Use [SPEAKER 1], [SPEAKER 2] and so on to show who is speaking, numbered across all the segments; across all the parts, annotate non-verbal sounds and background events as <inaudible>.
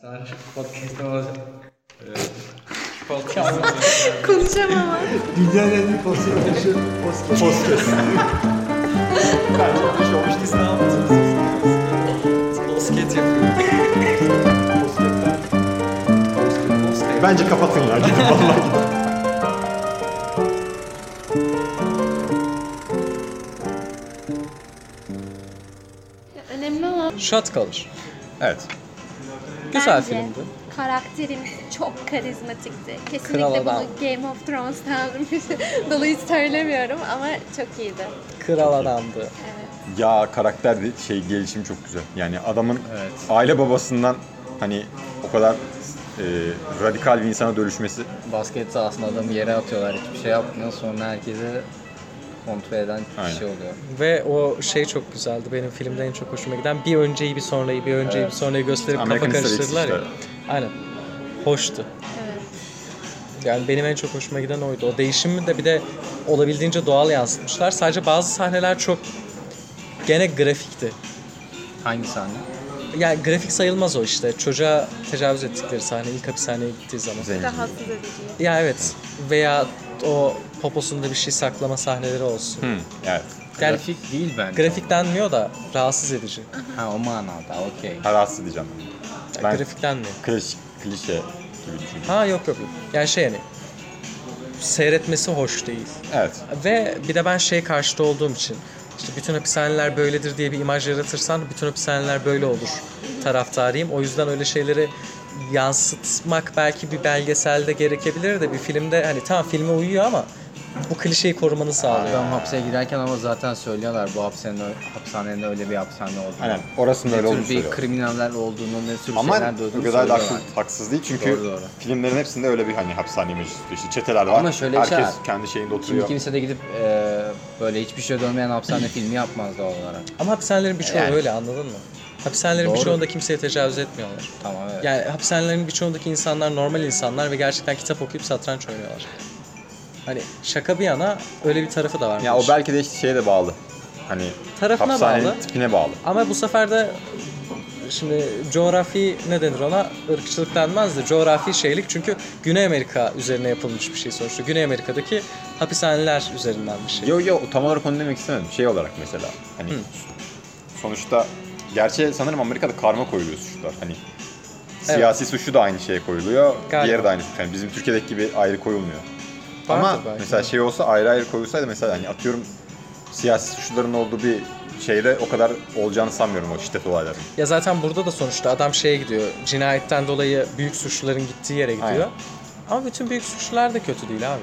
[SPEAKER 1] Sen şu podcast'ı alacaksın. Evet. Şu podcast'ı
[SPEAKER 2] Konuşamam.
[SPEAKER 3] Dünyanın en iyi post yaşı post
[SPEAKER 4] Postres. Bence o şey olmuş değil. Sen anlatıyorsun.
[SPEAKER 1] Basket yapıyor.
[SPEAKER 4] Postretler.
[SPEAKER 1] Basket.
[SPEAKER 4] Bence kapatın ya. Gidin
[SPEAKER 3] <laughs>
[SPEAKER 4] vallahi gidin.
[SPEAKER 2] Önemli olan
[SPEAKER 1] Şat kalır. Evet.
[SPEAKER 2] bence Karakterim çok karizmatikti. Kesinlikle
[SPEAKER 1] Kral adam.
[SPEAKER 2] bunu Game of Thrones'tan <laughs> dolayı söylemiyorum ama çok iyiydi.
[SPEAKER 1] Kral adamdı.
[SPEAKER 2] Evet.
[SPEAKER 4] Ya karakter de- şey gelişimi çok güzel. Yani adamın
[SPEAKER 1] Evet.
[SPEAKER 4] aile babasından hani o kadar e, radikal bir insana dönüşmesi
[SPEAKER 5] basket sahasında adamı yere atıyorlar hiçbir şey yapmıyor sonra herkese kontrol eden
[SPEAKER 4] Aynen.
[SPEAKER 5] kişi oluyor.
[SPEAKER 1] Ve o şey çok güzeldi. Benim filmde en çok hoşuma giden bir önceyi bir sonrayı bir önceyi bir sonrayı gösterip
[SPEAKER 4] American
[SPEAKER 1] kafa
[SPEAKER 4] History
[SPEAKER 1] karıştırdılar ya.
[SPEAKER 4] işte.
[SPEAKER 1] Aynen. Hoştu.
[SPEAKER 2] Evet.
[SPEAKER 1] Yani benim en çok hoşuma giden oydu. O değişimi de bir de olabildiğince doğal yansıtmışlar. Sadece bazı sahneler çok gene grafikti.
[SPEAKER 5] Hangi sahne?
[SPEAKER 1] Yani grafik sayılmaz o işte. Çocuğa tecavüz ettikleri sahne ilk hapishaneye gittiği zaman.
[SPEAKER 4] zengin.
[SPEAKER 2] Rahatsız edici.
[SPEAKER 1] Ya evet. Veya o poposunda bir şey saklama sahneleri olsun.
[SPEAKER 4] Hı, evet.
[SPEAKER 1] Yani
[SPEAKER 5] Grafik değil bence.
[SPEAKER 1] grafik denmiyor da rahatsız edici.
[SPEAKER 5] Ha o manada okey.
[SPEAKER 4] Rahatsız edeceğim.
[SPEAKER 1] Yani
[SPEAKER 4] Ben
[SPEAKER 1] Grafik denmiyor.
[SPEAKER 4] kliş, klişe gibi düşünüyorum.
[SPEAKER 1] Ha yok yok. Yani şey yani seyretmesi hoş değil.
[SPEAKER 4] Evet.
[SPEAKER 1] Ve bir de ben şey karşıtı olduğum için işte bütün hapishaneler böyledir diye bir imaj yaratırsan bütün hapishaneler böyle olur taraftarıyım. O yüzden öyle şeyleri yansıtmak belki bir belgeselde gerekebilir de bir filmde hani tamam filme uyuyor ama bu klişeyi korumanı sağlıyor.
[SPEAKER 5] Adam hapse girerken ama zaten söylüyorlar bu hapishanenin, ö- hapishanenin öyle bir hapishane olduğunu.
[SPEAKER 4] Aynen. Orasının
[SPEAKER 5] Ne
[SPEAKER 4] öyle olduğunu
[SPEAKER 5] tür bir
[SPEAKER 4] söylüyor.
[SPEAKER 5] kriminaller olduğunu, ne tür
[SPEAKER 4] Ama
[SPEAKER 5] şeyler de
[SPEAKER 4] o
[SPEAKER 5] olduğunu
[SPEAKER 4] kadar da
[SPEAKER 5] söylüyorlar.
[SPEAKER 4] haksız, haksız değil çünkü
[SPEAKER 5] Doğru, doğru.
[SPEAKER 4] filmlerin hepsinde öyle bir hani hapishane imajı tutuyor. İşte çeteler var.
[SPEAKER 5] Ama şöyle bir şey
[SPEAKER 4] Herkes
[SPEAKER 5] var.
[SPEAKER 4] kendi şeyinde
[SPEAKER 5] Şimdi
[SPEAKER 4] oturuyor.
[SPEAKER 5] kimse de gidip e, böyle hiçbir şey dönmeyen hapishane filmi yapmaz doğal olarak.
[SPEAKER 1] Ama hapishanelerin birçoğu
[SPEAKER 5] Yani.
[SPEAKER 1] öyle anladın mı? Hapishanelerin
[SPEAKER 5] Doğru.
[SPEAKER 1] birçoğunda kimseye tecavüz etmiyorlar.
[SPEAKER 5] Tamam evet.
[SPEAKER 1] Yani hapishanelerin birçoğundaki insanlar normal insanlar ve gerçekten kitap okuyup satranç oynuyorlar. Hani şaka bir yana öyle bir tarafı da var.
[SPEAKER 4] Ya
[SPEAKER 1] bu
[SPEAKER 4] o
[SPEAKER 1] işin.
[SPEAKER 4] belki de işte şeye de bağlı. Hani
[SPEAKER 1] Tarafına
[SPEAKER 4] hapishanenin
[SPEAKER 1] bağlı.
[SPEAKER 4] tipine bağlı.
[SPEAKER 1] Ama bu sefer de şimdi coğrafi ne denir ona? Irkçılık denmez de coğrafi şeylik çünkü Güney Amerika üzerine yapılmış bir şey sonuçta. Güney Amerika'daki hapishaneler üzerinden bir şey.
[SPEAKER 4] Yo yo tam olarak onu demek istemedim. Şey olarak mesela hani sonuçta gerçi sanırım Amerika'da karma koyuluyor suçlar. Hani siyasi suçu da aynı şeye koyuluyor.
[SPEAKER 1] Galiba.
[SPEAKER 4] Diğeri de aynı suç. Yani bizim Türkiye'deki gibi ayrı koyulmuyor.
[SPEAKER 1] Vardır
[SPEAKER 4] Ama
[SPEAKER 1] belki.
[SPEAKER 4] mesela şey olsa ayrı ayrı koyulsaydı mesela hani atıyorum siyasi suçluların olduğu bir şeyde o kadar olacağını sanmıyorum o şiddet olaylarının.
[SPEAKER 1] Ya zaten burada da sonuçta adam şeye gidiyor. Cinayetten dolayı büyük suçluların gittiği yere gidiyor.
[SPEAKER 4] Aynen.
[SPEAKER 1] Ama bütün büyük suçlular da kötü değil abi.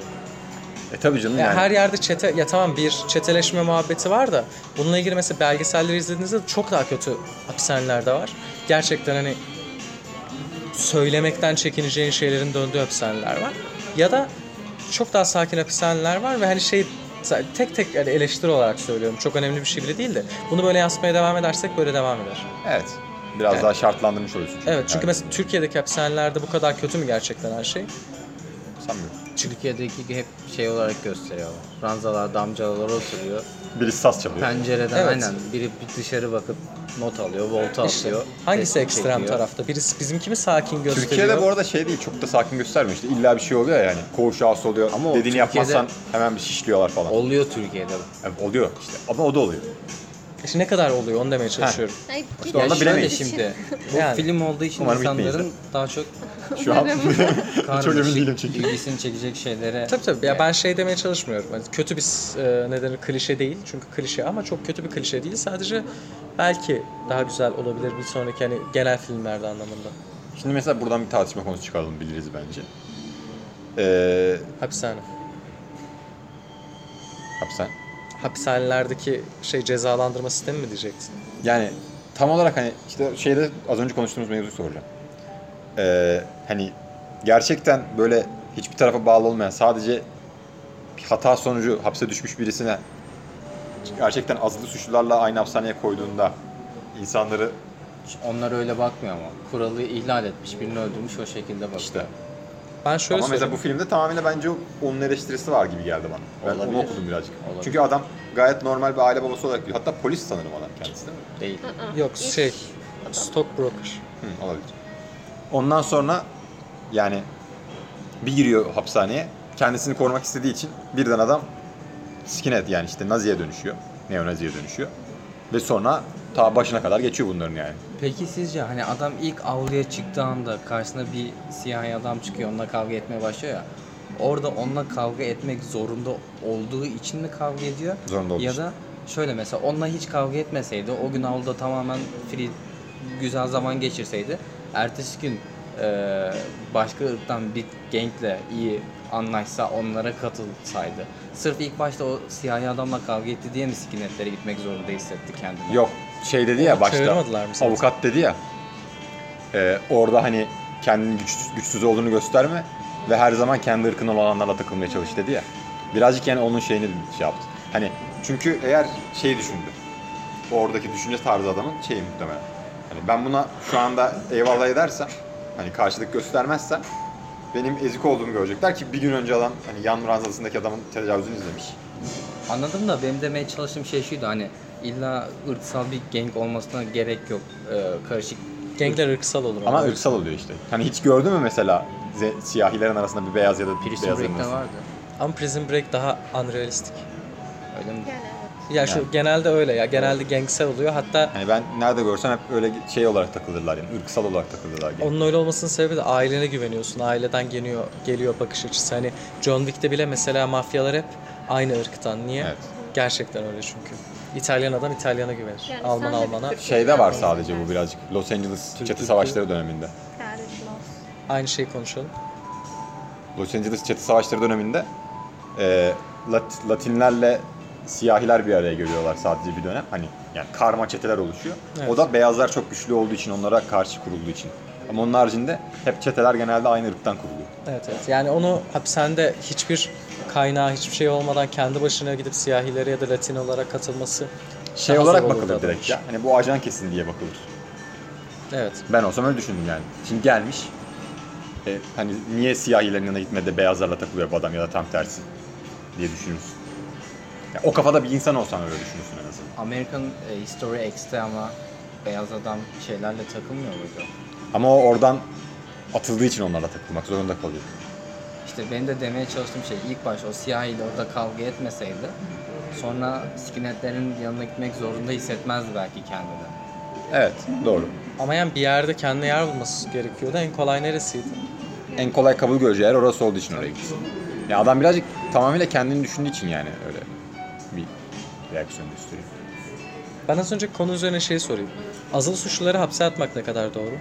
[SPEAKER 4] E tabii canım
[SPEAKER 1] Ya
[SPEAKER 4] yani.
[SPEAKER 1] Her yerde çete, ya tamam bir çeteleşme muhabbeti var da bununla ilgili mesela belgeselleri izlediğinizde çok daha kötü hapishaneler de var. Gerçekten hani söylemekten çekineceğin şeylerin döndüğü hapishaneler var. Ya da çok daha sakin hapishaneler var ve hani şey tek tek hani eleştiri olarak söylüyorum. Çok önemli bir şey bile değil de bunu böyle yansıtmaya devam edersek böyle devam eder.
[SPEAKER 4] Evet. Biraz
[SPEAKER 1] Yani-
[SPEAKER 4] daha şartlandırmış oluyorsun.
[SPEAKER 1] Evet çünkü
[SPEAKER 4] yani,
[SPEAKER 1] mesela Türkiye'deki hapishanelerde bu kadar kötü mü gerçekten her şey?
[SPEAKER 4] sanmıyorum.
[SPEAKER 5] Türkiye'deki hep şey olarak gösteriyorlar. Ranzalarda amcalar oturuyor.
[SPEAKER 4] Birisi saz çalıyor.
[SPEAKER 5] Pencereden
[SPEAKER 1] Evet.
[SPEAKER 5] aynen biri bir dışarı bakıp not alıyor, volta
[SPEAKER 1] İşte
[SPEAKER 5] atıyor.
[SPEAKER 1] hangisi
[SPEAKER 5] resim
[SPEAKER 1] ekstrem
[SPEAKER 5] çekiyor.
[SPEAKER 1] tarafta? Birisi bizimkini sakin gösteriyor.
[SPEAKER 4] Türkiye'de bu arada şey değil çok da sakin göstermiyor işte illa bir şey oluyor yani koğuş ağası oluyor
[SPEAKER 5] Ama o
[SPEAKER 4] dediğini
[SPEAKER 5] Türkiye'de-
[SPEAKER 4] yapmazsan hemen bir şişliyorlar falan.
[SPEAKER 5] Oluyor Türkiye'de. bu.
[SPEAKER 4] Evet, oluyor işte ama o
[SPEAKER 5] <laughs>
[SPEAKER 4] da oluyor.
[SPEAKER 1] İşte ne kadar oluyor onu demeye çalışıyorum.
[SPEAKER 2] Ay,
[SPEAKER 4] İşte onu
[SPEAKER 5] Ya
[SPEAKER 4] da
[SPEAKER 5] şöyle
[SPEAKER 4] bilemeyiz.
[SPEAKER 2] şey-
[SPEAKER 5] şimdi. Bu
[SPEAKER 1] Yani.
[SPEAKER 5] film olduğu için
[SPEAKER 4] Umarım
[SPEAKER 5] insanların
[SPEAKER 4] bitmeyiz
[SPEAKER 5] daha çok
[SPEAKER 4] Şu an <laughs> çok emin
[SPEAKER 5] karmaşık
[SPEAKER 4] değilim çünkü.
[SPEAKER 5] ilgisini çekecek şeylere
[SPEAKER 1] Tabii tabii. Ya ben şey demeye çalışmıyorum. Hani kötü bir e, ne denir, klişe değil. Çünkü klişe ama çok kötü bir klişe değil. Sadece belki daha güzel olabilir bir sonraki hani genel filmlerde anlamında.
[SPEAKER 4] <laughs> Şimdi mesela buradan bir tartışma konusu çıkaralım biliriz bence. Ee,
[SPEAKER 1] Hapishane.
[SPEAKER 4] hapishane.
[SPEAKER 1] Hapishanelerdeki şey cezalandırma sistemi mi diyecektin?
[SPEAKER 4] Yani tam olarak hani işte şeyde az önce konuştuğumuz mevzuyu soracağım. Ee, hani gerçekten böyle hiçbir tarafa bağlı olmayan sadece bir hata sonucu hapse düşmüş birisine gerçekten azılı suçlularla aynı hapishaneye koyduğunda insanları
[SPEAKER 5] onlar öyle bakmıyor ama. Kuralı ihlal etmiş, birini öldürmüş o şekilde bakıyor.
[SPEAKER 4] İşte.
[SPEAKER 1] Ben şöyle
[SPEAKER 4] ama mesela
[SPEAKER 1] söyleyeyim.
[SPEAKER 4] bu filmde tamamıyla bence onun eleştirisi var gibi geldi bana. Ben onu
[SPEAKER 5] Olabilir.
[SPEAKER 4] okudum birazcık.
[SPEAKER 5] Olabilir.
[SPEAKER 4] Çünkü adam gayet normal bir aile babası olarak biliyor. Hatta polis sanırım adam kendisi değil mi?
[SPEAKER 5] Değil.
[SPEAKER 2] Aa,
[SPEAKER 1] Yok
[SPEAKER 2] Ah, iş
[SPEAKER 1] şey
[SPEAKER 2] adam.
[SPEAKER 1] stockbroker.
[SPEAKER 4] Hı, olabilir. Ondan sonra yani bir giriyor hapishaneye. Kendisini korumak istediği için birden adam skinhead yani işte Nazi'ye dönüşüyor. Neo-Nazi'ye dönüşüyor. Ve sonra ta başına kadar geçiyor bunların yani.
[SPEAKER 5] Peki sizce hani adam ilk avluya çıktığı anda karşısına bir siyahi adam çıkıyor onunla kavga etmeye başlıyor ya. Orada onunla kavga etmek zorunda olduğu için mi kavga ediyor?
[SPEAKER 4] Zorunda olduğu
[SPEAKER 5] Ya
[SPEAKER 4] için.
[SPEAKER 5] da şöyle mesela onunla hiç kavga etmeseydi o gün avluda tamamen free güzel zaman geçirseydi. Ertesi gün eee, başka ırktan bir gençle iyi anlaşsa onlara katılsaydı. Sırf ilk başta o siyahi adamla kavga etti diye mi sikinetlere gitmek zorunda hissetti kendini?
[SPEAKER 4] Yok şey dedi ya
[SPEAKER 1] Onu
[SPEAKER 4] başta
[SPEAKER 1] çağırmadılar mı zaten?
[SPEAKER 4] avukat dedi ya e, orada hani kendini güçsüz, güçsüz olduğunu gösterme ve her zaman kendi ırkın olanlarla takılmaya çalış dedi ya. Birazcık yani onun şeyini şey yaptı. Hani çünkü eğer şey düşündü. Oradaki düşünce tarzı adamın şeyi muhtemelen. Hani ben buna şu anda eyvallah edersem hani karşılık göstermezsem benim ezik olduğumu görecekler ki bir gün önce adam hani yan ranzasındaki adamın tecavüzünü izlemiş.
[SPEAKER 5] Anladım da benim demeye çalıştığım şey şuydu hani illa ırksal bir gang olmasına gerek yok. Ee, karışık
[SPEAKER 1] Gangler ırksal olur.
[SPEAKER 4] Ama
[SPEAKER 1] onlar.
[SPEAKER 4] ırksal oluyor işte. Hani hiç gördün mü mesela ze- siyahilerin arasında bir beyaz ya da bir
[SPEAKER 5] Prison
[SPEAKER 4] beyaz
[SPEAKER 5] Break'te vardı.
[SPEAKER 1] Ama Prison Break daha unrealistik.
[SPEAKER 5] Öyle mi?
[SPEAKER 2] Yani evet.
[SPEAKER 1] Ya şu
[SPEAKER 4] Yani.
[SPEAKER 1] genelde öyle ya. Genelde gangsel oluyor. Hatta
[SPEAKER 4] Hani ben nerede görsem hep öyle şey olarak takılırlar yani ırksal olarak takılırlar. gene.
[SPEAKER 1] Onun öyle olmasının sebebi de ailene güveniyorsun. Aileden geliyor, geliyor bakış açısı. Hani John Wick'te bile mesela mafyalar hep aynı ırktan. Niye?
[SPEAKER 4] Evet.
[SPEAKER 1] Gerçekten öyle çünkü. İtalyan adam İtalyana güvenir.
[SPEAKER 2] Yani
[SPEAKER 1] Alman
[SPEAKER 2] sen de bir
[SPEAKER 1] Alman'a.
[SPEAKER 2] Türk-
[SPEAKER 4] Şeyde var sadece bu birazcık Los Angeles
[SPEAKER 5] Türk-
[SPEAKER 4] çatı
[SPEAKER 5] Türk-
[SPEAKER 4] savaşları döneminde.
[SPEAKER 2] Kardeşim olsun.
[SPEAKER 1] Aynı şeyi konuşalım.
[SPEAKER 4] Los Angeles çatı savaşları döneminde e, Lat- Latinlerle siyahiler bir araya geliyorlar sadece bir dönem. Hani yani karma çeteler oluşuyor.
[SPEAKER 1] Evet.
[SPEAKER 4] O da beyazlar çok güçlü olduğu için onlara karşı kurulduğu için. Ama onun haricinde hep çeteler genelde aynı ırktan kuruluyor.
[SPEAKER 1] Evet evet. Yani onu hapishanede hiçbir kaynağı, hiçbir şey olmadan kendi başına gidip siyahilere ya da Latinolara katılması
[SPEAKER 4] Şey
[SPEAKER 1] daha zor
[SPEAKER 4] olarak
[SPEAKER 1] olurdu
[SPEAKER 4] bakılır
[SPEAKER 1] adam
[SPEAKER 4] direkt
[SPEAKER 1] için.
[SPEAKER 4] ya. Hani bu ajan kesin diye bakılır.
[SPEAKER 1] Evet.
[SPEAKER 4] Ben olsam öyle düşündüm yani. Şimdi gelmiş. E, hani niye siyahilerin yanına gitmedi de beyazlarla takılıyor bu adam ya da tam tersi diye düşünürsün. Ya o kafada bir insan olsan öyle düşünürsün en azından.
[SPEAKER 5] American e, History X'te ama beyaz adam şeylerle takılmıyor muydu?
[SPEAKER 4] Ama o oradan atıldığı için onlarla takılmak zorunda kalıyor.
[SPEAKER 5] İşte benim de demeye çalıştığım şey ilk baş o siyahiyle orada kavga etmeseydi sonra skinheadlerin yanına gitmek zorunda hissetmezdi belki kendini.
[SPEAKER 4] Evet doğru.
[SPEAKER 1] Ama yani bir yerde kendine yer bulması gerekiyordu. En kolay neresiydi?
[SPEAKER 4] En kolay kabul göreceği yer orası olduğu için oraya gitsin. Ya adam birazcık tamamıyla kendini düşündüğü için yani öyle bir reaksiyon gösteriyor.
[SPEAKER 1] Ben az önce konu üzerine şey sorayım. Azılı suçluları hapse atmak ne kadar doğru?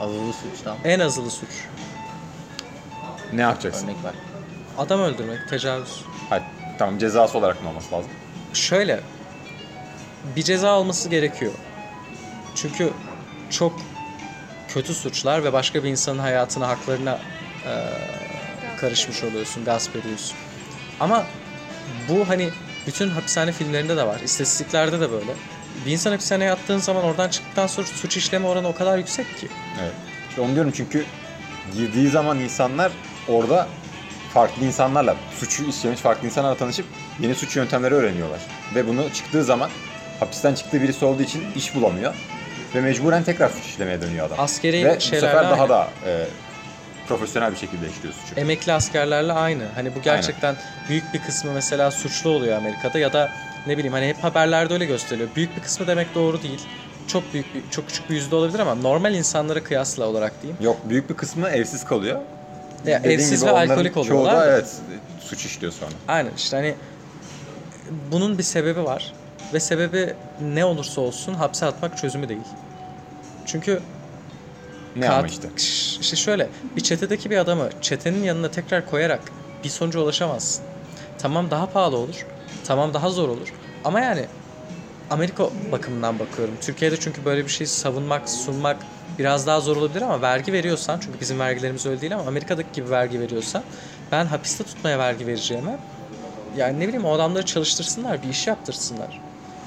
[SPEAKER 5] Azılı suçtan
[SPEAKER 1] En azılı suç.
[SPEAKER 4] Ne yapacaksın?
[SPEAKER 5] örnek var.
[SPEAKER 1] Adam öldürmek, tecavüz.
[SPEAKER 4] Hayır, tamam cezası olarak mı olması lazım?
[SPEAKER 1] şöyle bir ceza olması gerekiyor. Çünkü çok kötü suçlar ve başka bir insanın hayatına, haklarına eee, karışmış oluyorsun, gasp ediyorsun. Ama bu hani bütün hapishane filmlerinde de var, istatistiklerde de böyle. Bir insan hapishaneye attığın zaman oradan çıktıktan sonra suç işleme oranı o kadar yüksek ki.
[SPEAKER 4] Evet. İşte onu diyorum çünkü girdiği zaman insanlar orada farklı insanlarla, suçu işlemiş farklı insanlarla tanışıp yeni suç yöntemleri öğreniyorlar. Ve bunu çıktığı zaman hapisten çıktığı birisi olduğu için iş bulamıyor. Ve mecburen tekrar suç işlemeye dönüyor adam.
[SPEAKER 1] Askeri
[SPEAKER 4] Ve bu
[SPEAKER 1] şeylerle
[SPEAKER 4] sefer daha
[SPEAKER 1] aynı.
[SPEAKER 4] da e, profesyonel bir şekilde işliyor suçu.
[SPEAKER 1] Emekli askerlerle aynı. Hani bu gerçekten büyük bir kısmı mesela suçlu oluyor Amerika'da ya da ne bileyim hani hep haberlerde öyle gösteriliyor. Büyük bir kısmı demek doğru değil. Çok büyük bir, çok küçük bir yüzde olabilir ama normal insanlara kıyasla olarak diyeyim.
[SPEAKER 4] Yok büyük bir kısmı evsiz kalıyor.
[SPEAKER 1] Ya,
[SPEAKER 4] Dediğin
[SPEAKER 1] evsiz
[SPEAKER 4] gibi
[SPEAKER 1] ve
[SPEAKER 4] onların
[SPEAKER 1] alkolik
[SPEAKER 4] Çoğu
[SPEAKER 1] oluyorlar
[SPEAKER 4] da
[SPEAKER 1] da.
[SPEAKER 4] evet suç işliyor sonra.
[SPEAKER 1] Aynen işte hani bunun bir sebebi var ve sebebi ne olursa olsun hapse atmak çözümü değil. Çünkü
[SPEAKER 4] Ne
[SPEAKER 1] Kat-
[SPEAKER 4] ama işte.
[SPEAKER 1] Şş, İşte şöyle bir çetedeki bir adamı çetenin yanına tekrar koyarak bir sonuca ulaşamazsın. Tamam daha pahalı olur. Tamam daha zor olur. Ama yani Amerika bakımından bakıyorum. Türkiye'de çünkü böyle bir şey savunmak, sunmak biraz daha zor olabilir ama vergi veriyorsan çünkü bizim vergilerimiz öyle değil ama Amerika'daki gibi vergi veriyorsan ben hapiste tutmaya vergi vereceğime yani ne bileyim o adamları çalıştırsınlar, bir iş yaptırsınlar.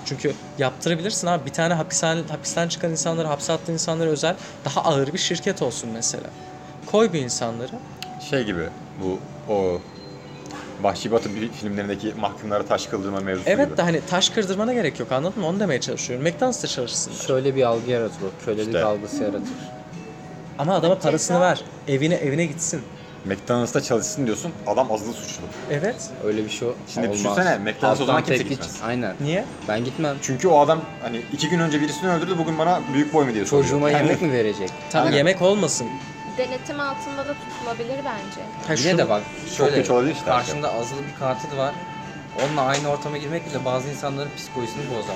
[SPEAKER 1] Çünkü yaptırabilirsin abi. Bir tane hapishane, hapisten çıkan insanları, hapse attığın insanlara özel daha ağır bir şirket olsun mesela. Koy bu insanları.
[SPEAKER 4] Şey gibi bu o Vahşi Batı bir- filmlerindeki mahkumlara taş kıldırma mevzusu gibi.
[SPEAKER 1] Evet de hani taş kırdırmana gerek yok anladın mı? Onu demeye çalışıyorum. McDonald's'ta çalışsınlar.
[SPEAKER 5] Şöyle bir algı yaratır o. Kölelik
[SPEAKER 4] İşte.
[SPEAKER 5] algısı yaratır.
[SPEAKER 1] Ama adama parasını ver. Evine evine gitsin.
[SPEAKER 4] McDonald's'ta çalışsın diyorsun. Adam azılı suçlu.
[SPEAKER 1] Evet.
[SPEAKER 5] Öyle bir şey
[SPEAKER 4] Şimdi
[SPEAKER 5] olmaz.
[SPEAKER 4] düşünsene, McDonald's o zaman
[SPEAKER 5] Halktan
[SPEAKER 4] kimse
[SPEAKER 5] tek iç-
[SPEAKER 4] gitmez.
[SPEAKER 5] Aynen.
[SPEAKER 1] Niye?
[SPEAKER 5] Ben gitmem.
[SPEAKER 4] Çünkü o adam hani iki gün önce birisini öldürdü bugün bana büyük boy mu diye soruyor.
[SPEAKER 5] Çocuğuma
[SPEAKER 4] Yani
[SPEAKER 5] yemek mi verecek?
[SPEAKER 1] Tam
[SPEAKER 4] Aynen.
[SPEAKER 1] yemek olmasın.
[SPEAKER 2] Denetim altında da tutulabilir bence.
[SPEAKER 1] Ha,
[SPEAKER 5] Yine
[SPEAKER 1] şunu-
[SPEAKER 5] de bak
[SPEAKER 4] Çok
[SPEAKER 5] şöyle
[SPEAKER 4] güç olabilir işte. her şey.
[SPEAKER 5] karşında azılı bir katil var. Onunla aynı ortama girmek bile bazı insanların psikolojisini bozar.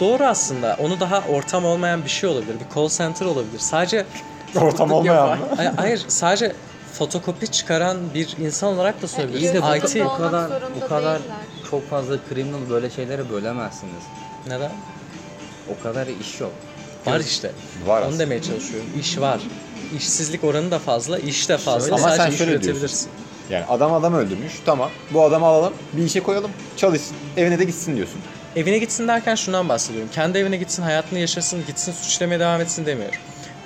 [SPEAKER 1] Doğru aslında. Onu daha ortam olmayan bir şey olabilir. Bir call center olabilir. Sadece
[SPEAKER 4] <laughs> Ortam olmayan mı?
[SPEAKER 1] Ay- hayır sadece fotokopi çıkaran bir insan olarak da
[SPEAKER 2] Evet,
[SPEAKER 1] söyleyebiliriz.
[SPEAKER 5] İşte
[SPEAKER 2] Yüzde
[SPEAKER 5] bu,
[SPEAKER 1] IT.
[SPEAKER 2] olmak
[SPEAKER 5] bu kadar
[SPEAKER 2] zorunda
[SPEAKER 5] bu kadar
[SPEAKER 2] değiller.
[SPEAKER 5] çok fazla criminal böyle şeylere bölemezsiniz.
[SPEAKER 1] Neden?
[SPEAKER 5] O kadar iş yok.
[SPEAKER 1] Var işte.
[SPEAKER 4] Var
[SPEAKER 1] Onu
[SPEAKER 4] aslında.
[SPEAKER 1] demeye çalışıyorum. İş var. İşsizlik oranı da fazla, iş de fazla.
[SPEAKER 4] Ama
[SPEAKER 1] Sadece
[SPEAKER 4] sen
[SPEAKER 1] iş
[SPEAKER 4] şöyle
[SPEAKER 1] üretebilirsin.
[SPEAKER 4] Yani adam adam öldürmüş. Tamam. Bu adamı alalım. Bir işe koyalım. Çalışsın. Evine de gitsin diyorsun.
[SPEAKER 1] Evine gitsin derken şundan bahsediyorum. Kendi evine gitsin, hayatını yaşasın, gitsin suçlamaya devam etsin demiyorum.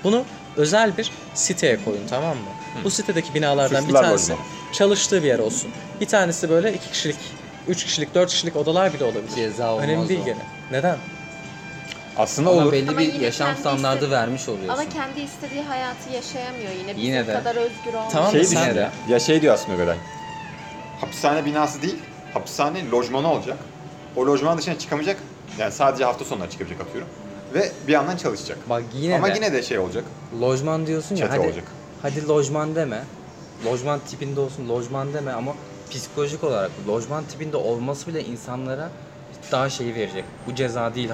[SPEAKER 1] Bunu özel bir siteye koyun tamam mı? Bu sitedeki binalardan bir
[SPEAKER 4] Suçlular
[SPEAKER 1] tanesi
[SPEAKER 4] lojmanı.
[SPEAKER 1] çalıştığı bir yer olsun. Bir tanesi böyle iki kişilik, üç kişilik, dört kişilik odalar bile olabilir.
[SPEAKER 5] Ceza olmaz
[SPEAKER 1] Önemli değil
[SPEAKER 5] o.
[SPEAKER 1] gene. Neden?
[SPEAKER 4] Aslında
[SPEAKER 5] Ama
[SPEAKER 4] olur.
[SPEAKER 5] belli
[SPEAKER 2] Ama
[SPEAKER 5] bir
[SPEAKER 2] yine
[SPEAKER 5] yaşam
[SPEAKER 2] kendi
[SPEAKER 5] standardı
[SPEAKER 2] istedi-
[SPEAKER 5] vermiş oluyorsun.
[SPEAKER 2] Ama kendi istediği hayatı yaşayamıyor yine. Bizim
[SPEAKER 5] Yine de.
[SPEAKER 2] kadar özgür olmuyor.
[SPEAKER 1] Tamam.
[SPEAKER 4] şey
[SPEAKER 1] Ama
[SPEAKER 4] düşün
[SPEAKER 1] sen-
[SPEAKER 4] ya. Ya şey diyor aslında Öbelen. Hapishane binası değil, hapishane lojmanı olacak. O lojman dışına çıkamayacak. Yani sadece hafta sonları çıkabilecek atıyorum. Ve bir yandan çalışacak.
[SPEAKER 5] Bak yine
[SPEAKER 4] Ama
[SPEAKER 5] de
[SPEAKER 4] yine de şey olacak.
[SPEAKER 5] lojman diyorsun ya
[SPEAKER 4] Çete
[SPEAKER 5] hadi
[SPEAKER 4] olacak.
[SPEAKER 5] hadi lojman deme. Lojman tipinde olsun lojman deme ama psikolojik olarak lojman tipinde olması bile insanlara daha şeyi verecek. Bu ceza değil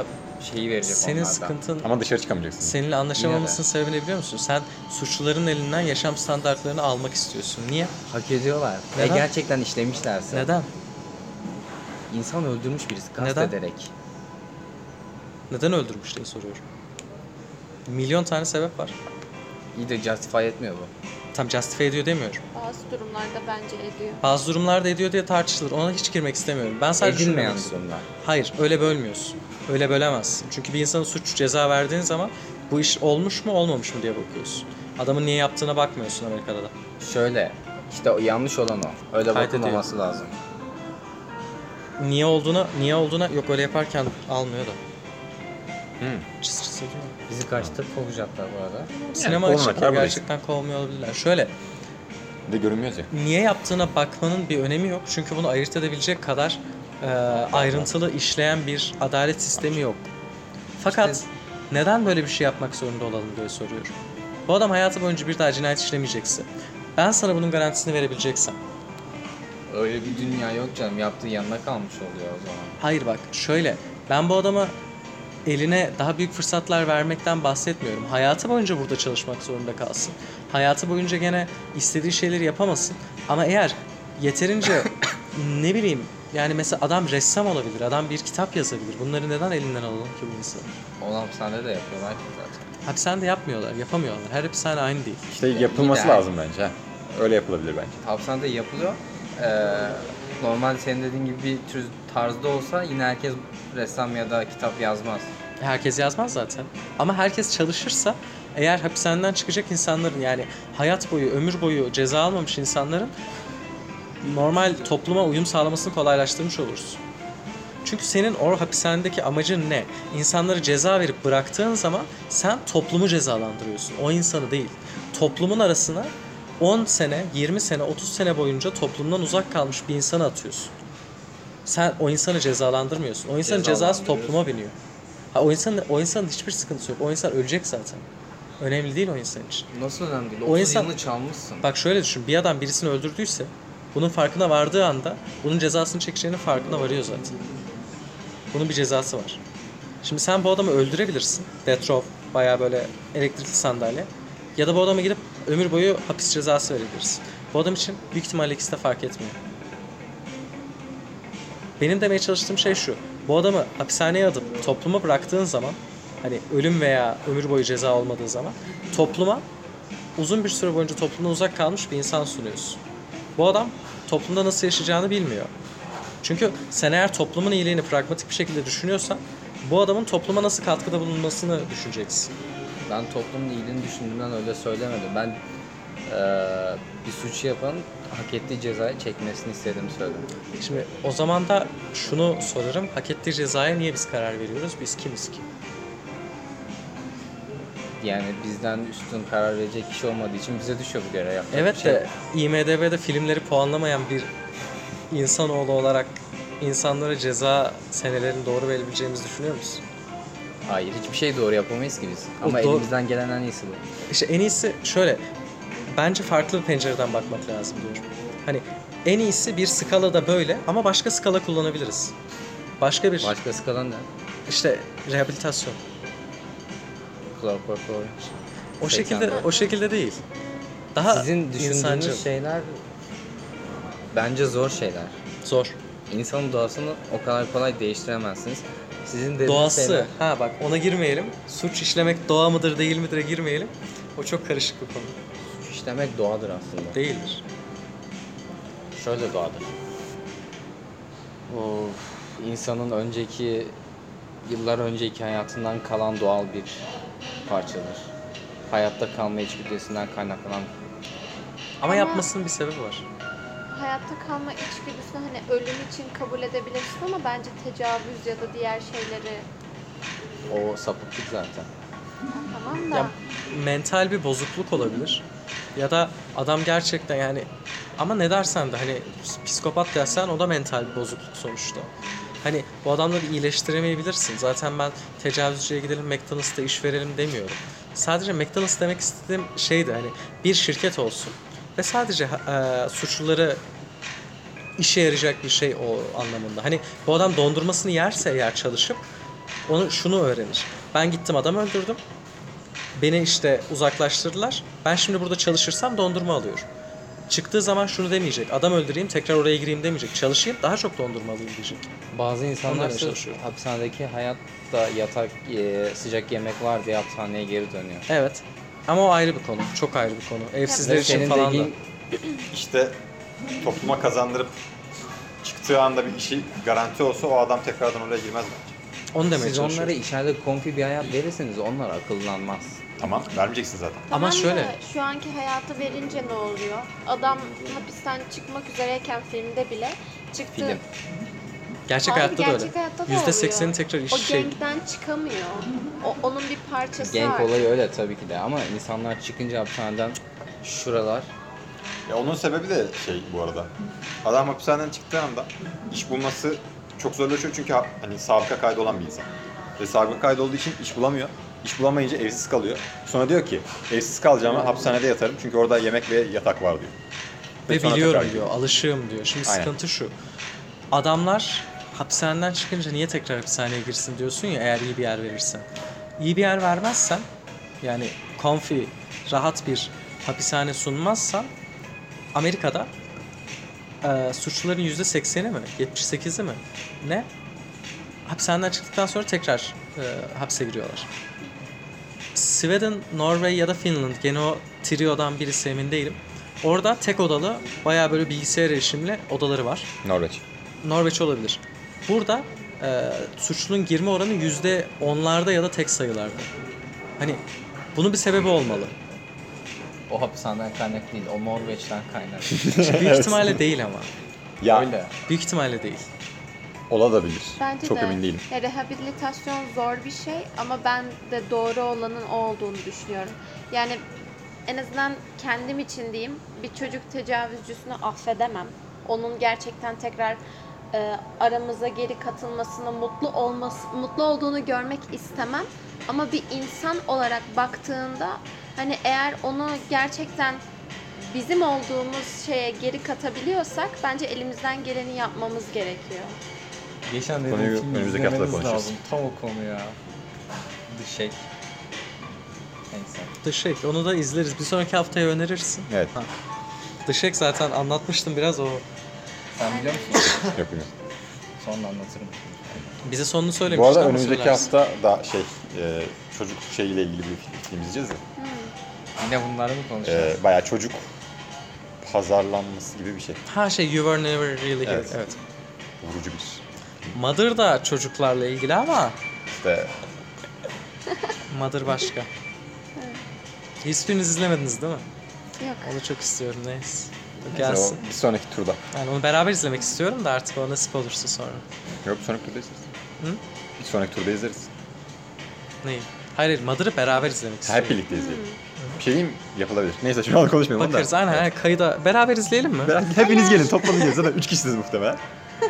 [SPEAKER 5] şeyi verecek
[SPEAKER 1] Senin
[SPEAKER 5] onlardan.
[SPEAKER 1] sıkıntın
[SPEAKER 4] Ama dışarı çıkamayacaksın.
[SPEAKER 1] seninle anlaşamamasının sebebini biliyor musun? Sen suçluların elinden yaşam standartlarını almak istiyorsun. Niye?
[SPEAKER 5] Hak ediyorlar. Ve
[SPEAKER 1] Neden?
[SPEAKER 5] gerçekten işlemişlerse.
[SPEAKER 1] Neden?
[SPEAKER 5] İnsan öldürmüş birisi kast
[SPEAKER 1] Neden?
[SPEAKER 5] ederek.
[SPEAKER 1] Neden öldürmüş diye soruyorum. Milyon tane sebep var.
[SPEAKER 5] İyi de justify etmiyor bu.
[SPEAKER 1] Tam justify ediyor demiyorum.
[SPEAKER 2] Bazı durumlarda bence ediyor.
[SPEAKER 1] Bazı durumlarda ediyor diye tartışılır. Ona hiç girmek istemiyorum. Ben sadece şunu
[SPEAKER 5] Edilmeyen
[SPEAKER 1] demek istiyorum.
[SPEAKER 5] durumlar.
[SPEAKER 1] Hayır, öyle bölmüyorsun. Öyle bölemezsin. Çünkü bir insana suç ceza verdiğin zaman bu iş olmuş mu olmamış mı diye bakıyorsun. Adamın niye yaptığına bakmıyorsun Amerika'da da.
[SPEAKER 5] Şöyle işte o yanlış olan o. Öyle
[SPEAKER 1] Kaydediyor.
[SPEAKER 5] bakılmaması lazım.
[SPEAKER 1] Niye olduğuna, niye olduğuna yok öyle yaparken almıyor da.
[SPEAKER 4] Hı.
[SPEAKER 1] Çıs çıs ediyor.
[SPEAKER 5] Bizi kaçta kovacaklar bu arada.
[SPEAKER 1] Sinema
[SPEAKER 4] kovmak
[SPEAKER 1] açıklar
[SPEAKER 4] arkadaş.
[SPEAKER 1] gerçekten kovmuyor olabilirler. Şöyle,
[SPEAKER 4] Bir de görünmüyoruz ya.
[SPEAKER 1] niye yaptığına bakmanın bir önemi yok. Çünkü bunu ayırt edebilecek kadar e, ayrıntılı işleyen bir adalet sistemi yok. Fakat
[SPEAKER 5] İşte-
[SPEAKER 1] neden böyle bir şey yapmak zorunda olalım diye soruyorum. Bu adam hayatı boyunca bir daha cinayet işlemeyecekse, ben sana bunun garantisini verebileceksem,
[SPEAKER 5] Öyle bir dünya yok canım. Yaptığı yanına kalmış oluyor o zaman.
[SPEAKER 1] Hayır bak şöyle ben bu adama eline daha büyük fırsatlar vermekten bahsetmiyorum. Hayatı boyunca burada çalışmak zorunda kalsın. Hayatı boyunca gene istediği şeyleri yapamasın. Ama eğer yeterince <coughs> ne bileyim yani mesela adam ressam olabilir, adam bir kitap yazabilir. Bunları neden elinden alalım ki bu insanı?
[SPEAKER 5] Onu hapishanede de yapıyorlar ki zaten.
[SPEAKER 1] Hapishanede yapmıyorlar, yapamıyorlar. Her hapishane aynı değil.
[SPEAKER 4] İşte yapılması
[SPEAKER 5] Bir de-
[SPEAKER 4] lazım bence. ha. Öyle yapılabilir bence.
[SPEAKER 5] Hapishanede yapılıyor. Ee, normal senin dediğin gibi bir tür tarzda olsa yine herkes ressam ya da kitap yazmaz.
[SPEAKER 1] Herkes yazmaz zaten. Ama herkes çalışırsa eğer hapishaneden çıkacak insanların yani hayat boyu, ömür boyu ceza almamış insanların normal topluma uyum sağlamasını kolaylaştırmış oluruz. Çünkü senin o hapishanedeki amacın ne? İnsanları ceza verip bıraktığın zaman sen toplumu cezalandırıyorsun. O insanı değil. Toplumun arasına 10 sene, 20 sene, 30 sene boyunca toplumdan uzak kalmış bir insanı atıyorsun. Sen o insanı cezalandırmıyorsun. O insanın cezası
[SPEAKER 5] Cezalandırıyorsun.
[SPEAKER 1] topluma biniyor. Ha, o insanın, o insanın hiçbir sıkıntısı yok. O insan ölecek zaten. Önemli değil o insan için.
[SPEAKER 5] Nasıl önemli değil?
[SPEAKER 1] O
[SPEAKER 5] 30
[SPEAKER 1] insan-
[SPEAKER 5] yılını çalmışsın.
[SPEAKER 1] Bak şöyle düşün. Bir adam birisini öldürdüyse bunun farkına vardığı anda bunun cezasını çekeceğinin farkına varıyor zaten. Bunun bir cezası var. Şimdi sen bu adamı öldürebilirsin. Death row bayağı böyle elektrikli sandalye. Ya da bu adama gidip ömür boyu hapis cezası verebilirsin. Bu adam için büyük ihtimalle ikisi de fark etmiyor. Benim demeye çalıştığım şey şu. Bu adamı hapishaneye atıp topluma bıraktığın zaman hani ölüm veya ömür boyu ceza olmadığı zaman topluma uzun bir süre boyunca toplumdan uzak kalmış bir insan sunuyorsun. Bu adam toplumda nasıl yaşayacağını bilmiyor. Çünkü sen eğer toplumun iyiliğini pragmatik bir şekilde düşünüyorsan bu adamın topluma nasıl katkıda bulunmasını düşüneceksin.
[SPEAKER 5] Ben toplumun iyiliğini düşündüğümden öyle söylemedim. Ben eee, bir suçu yapanın hak ettiği cezayı çekmesini istediğimi söyledim.
[SPEAKER 1] Şimdi o zaman da şunu sorarım. Hak ettiği cezaya niye biz karar veriyoruz? Biz kimiz ki?
[SPEAKER 5] yani bizden üstün karar verecek kişi olmadığı için bize düşüyor bu görev şey yapmak.
[SPEAKER 1] Evet de IMDB'de filmleri puanlamayan bir insanoğlu olarak insanlara ceza senelerini doğru verebileceğimizi düşünüyor musun?
[SPEAKER 5] Hayır hiçbir şey doğru yapamayız ki biz.
[SPEAKER 1] O
[SPEAKER 5] Ama
[SPEAKER 1] doğru-
[SPEAKER 5] elimizden gelen en iyisi bu.
[SPEAKER 1] İşte en iyisi şöyle. Bence farklı bir pencereden bakmak lazım diyorum. Hani en iyisi bir skala da böyle ama başka skala kullanabiliriz. Başka bir
[SPEAKER 5] Başkası kalan da
[SPEAKER 1] işte rehabilitasyon.
[SPEAKER 5] Clockwork Orange.
[SPEAKER 1] O
[SPEAKER 5] 80
[SPEAKER 1] şekilde
[SPEAKER 5] dolar.
[SPEAKER 1] o şekilde değil. Daha
[SPEAKER 5] Sizin düşündüğünüz şey-
[SPEAKER 1] insancıl,
[SPEAKER 5] şeyler bence zor şeyler.
[SPEAKER 1] zor.
[SPEAKER 5] İnsanın doğasını o kadar kolay değiştiremezsiniz. Sizin dediğiniz
[SPEAKER 1] Doğası.
[SPEAKER 5] şeyler-
[SPEAKER 1] Ha bak ona girmeyelim. Suç işlemek doğa mıdır değil midir'e girmeyelim. O çok karışık bir konu.
[SPEAKER 5] Suç işlemek doğadır aslında.
[SPEAKER 1] Değildir.
[SPEAKER 5] Şöyle doğadır. O insanın önceki yıllar önceki hayatından kalan doğal bir parçadır. Hayatta kalma içgüdüsünden kaynaklanan
[SPEAKER 1] Ama
[SPEAKER 2] Ama-
[SPEAKER 1] yapmasının bir sebebi var.
[SPEAKER 2] Hayatta kalma içgüdüsünü hani ölüm için kabul edebilirsin ama bence tecavüz ya da diğer şeyleri
[SPEAKER 5] o sapıklık zaten.
[SPEAKER 2] tamam da.
[SPEAKER 1] Ya mental bir bozukluk olabilir. Ya da adam gerçekten yani ama ne dersen de hani psikopat dersen o da mental bir bozukluk sonuçta. Hani bu adamları iyileştiremeyebilirsin. Zaten ben tecavüzcüye gidelim McDonald's'ta iş verelim demiyorum. Sadece McDonald's demek istediğim şeydi hani bir şirket olsun ve sadece e, suçluları işe yarayacak bir şey o anlamında. Hani bu adam dondurmasını yerse eğer çalışıp onu şunu öğrenir. Ben gittim adam öldürdüm. Beni işte uzaklaştırdılar. Ben şimdi burada çalışırsam dondurma alıyorum. Çıktığı zaman şunu demeyecek. Adam öldüreyim tekrar oraya gireyim demeyecek. Çalışayım daha çok dondurma alayım diyecek.
[SPEAKER 5] Bazı
[SPEAKER 1] Onlar
[SPEAKER 5] insanlar
[SPEAKER 1] da
[SPEAKER 5] sırf
[SPEAKER 1] çalışıyor.
[SPEAKER 5] hapishanedeki hayatta yatak e, sıcak yemek var diye hapishaneye geri dönüyor.
[SPEAKER 1] Evet. Ama o ayrı bir konu. Çok ayrı bir konu. Evsizler
[SPEAKER 5] Ve
[SPEAKER 1] için
[SPEAKER 5] senin
[SPEAKER 1] falan da.
[SPEAKER 5] dediğin
[SPEAKER 4] İşte topluma kazandırıp çıktığı anda bir işi garanti olsa o adam tekrardan oraya girmez bence.
[SPEAKER 1] Onu demeye
[SPEAKER 5] Siz
[SPEAKER 1] çalışıyorum.
[SPEAKER 5] onlara içeride konfi bir hayat verirseniz onlar akıllanmaz.
[SPEAKER 4] Tamam vermeyeceksin zaten.
[SPEAKER 1] Ama
[SPEAKER 2] Tamam da
[SPEAKER 1] şöyle.
[SPEAKER 2] Şu anki hayatı verince ne oluyor? Adam hapisten çıkmak üzereyken filmde bile çıktı.
[SPEAKER 5] Film.
[SPEAKER 1] Gerçek
[SPEAKER 2] Abi
[SPEAKER 1] hayatta da öyle.
[SPEAKER 2] gerçek hayatta da
[SPEAKER 1] Yüzde
[SPEAKER 2] oluyor.
[SPEAKER 1] seksenin tekrar iş
[SPEAKER 2] O
[SPEAKER 1] şey.
[SPEAKER 2] gangden çıkamıyor. O, onun bir parçası
[SPEAKER 5] Genk
[SPEAKER 2] artık.
[SPEAKER 5] olayı öyle tabii ki de ama insanlar çıkınca hapishaneden şuralar
[SPEAKER 4] Ya onun sebebi de şey bu arada. Adam hapishaneden çıktığı anda iş bulması çok zorlaşıyor çünkü ha- hani sabıka kaydı olan bir insan. Ve sabıka kaydı olduğu için iş bulamıyor. İş bulamayınca evsiz kalıyor. Sonra diyor ki evsiz kalacağıma hapishanede yatarım çünkü orada yemek ve yatak var diyor.
[SPEAKER 1] Ve
[SPEAKER 4] sonra
[SPEAKER 1] biliyorum
[SPEAKER 4] tekrar
[SPEAKER 1] diyor. Alışığım diyor. Şimdi
[SPEAKER 4] Aynen.
[SPEAKER 1] sıkıntı şu. Adamlar hapishaneden çıkınca niye tekrar hapishaneye girsin diyorsun ya eğer iyi bir yer verirsen. İyi bir yer vermezsen yani konfi, rahat bir hapishane sunmazsan Amerika'da e, suçluların %80'i mi? 78'i mi? Ne? Hapishaneden çıktıktan sonra tekrar e, hapse giriyorlar. Sweden, Norveç ya da Finland gene o trio'dan birisi emin değilim. Orada tek odalı bayağı böyle bilgisayar erişimli odaları var.
[SPEAKER 4] Norveç.
[SPEAKER 1] Norveç olabilir. Burada e, suçlunun girme oranı yüzde onlarda ya da tek sayılarda. Hani bunun bir sebebi olmalı.
[SPEAKER 5] o hapishaneden kaynak değil, o Norveç'ten kaynak.
[SPEAKER 1] <laughs>
[SPEAKER 4] <laughs>
[SPEAKER 1] Büyük ihtimalle değil ama.
[SPEAKER 4] Ya
[SPEAKER 5] öyle.
[SPEAKER 1] Büyük ihtimalle değil.
[SPEAKER 4] ola da bilir.
[SPEAKER 2] Bence
[SPEAKER 4] çok
[SPEAKER 2] de.
[SPEAKER 4] emin değilim.
[SPEAKER 2] Ya, rehabilitasyon zor bir şey ama ben de doğru olanın o olduğunu düşünüyorum. Yani en azından kendim için diyeyim bir çocuk tecavüzcüsünü affedemem. Onun gerçekten tekrar e, aramıza geri katılmasını, mutlu olması, mutlu olduğunu görmek istemem. Ama bir insan olarak baktığında hani eğer onu gerçekten bizim olduğumuz şeye geri katabiliyorsak bence elimizden geleni yapmamız gerekiyor.
[SPEAKER 5] Geçen
[SPEAKER 4] dediğim Konuyu filmi önümüzdeki hafta izlemeniz konuşuruz. lazım.
[SPEAKER 5] Tam o konu ya. Dışek. Neyse.
[SPEAKER 1] Dışek onu da izleriz. Bir sonraki haftaya önerirsin.
[SPEAKER 4] Evet.
[SPEAKER 1] Ha. Dışek zaten anlatmıştım biraz o.
[SPEAKER 5] Sen biliyor musun?
[SPEAKER 4] Yok bilmiyorum.
[SPEAKER 5] Sonra anlatırım.
[SPEAKER 1] Bize sonunu söylemişti
[SPEAKER 4] Bu arada
[SPEAKER 1] şey ama
[SPEAKER 4] önümüzdeki
[SPEAKER 1] söylersin.
[SPEAKER 4] hafta da şey e, çocuk şeyiyle ilgili bir film izleyeceğiz ya.
[SPEAKER 5] Yine bunları mı konuşacağız?
[SPEAKER 1] Ee,
[SPEAKER 4] E, bayağı çocuk pazarlanması gibi bir şey.
[SPEAKER 1] Ha şey You Were Never Really Here.
[SPEAKER 4] Evet.
[SPEAKER 1] evet.
[SPEAKER 4] Vurucu bir.
[SPEAKER 1] Mother da çocuklarla ilgili ama
[SPEAKER 4] İşte
[SPEAKER 1] Mother başka. Hiçbiriniz izlemediniz değil mi?
[SPEAKER 2] Yok.
[SPEAKER 1] Onu çok istiyorum neyse. O
[SPEAKER 4] Neyse,
[SPEAKER 1] gelsin.
[SPEAKER 4] o bir sonraki turda.
[SPEAKER 1] Yani onu beraber izlemek istiyorum da artık o nasip olursa sonra.
[SPEAKER 4] Yok bir sonraki turda izleriz.
[SPEAKER 1] Hı?
[SPEAKER 4] Bir sonraki turda izleriz.
[SPEAKER 1] Neyi? Hayır hayır Mother'ı beraber izlemek istiyorum.
[SPEAKER 4] Hep birlikte izleyelim. Bir şeyim yapılabilir. Neyse şu an konuşmayalım. onu da.
[SPEAKER 1] Bakarız aynen aynen kayıda. Beraber izleyelim mi?
[SPEAKER 4] Merak- hepiniz gelin toplanın gelin. Zaten 3 kişisiniz muhtemelen.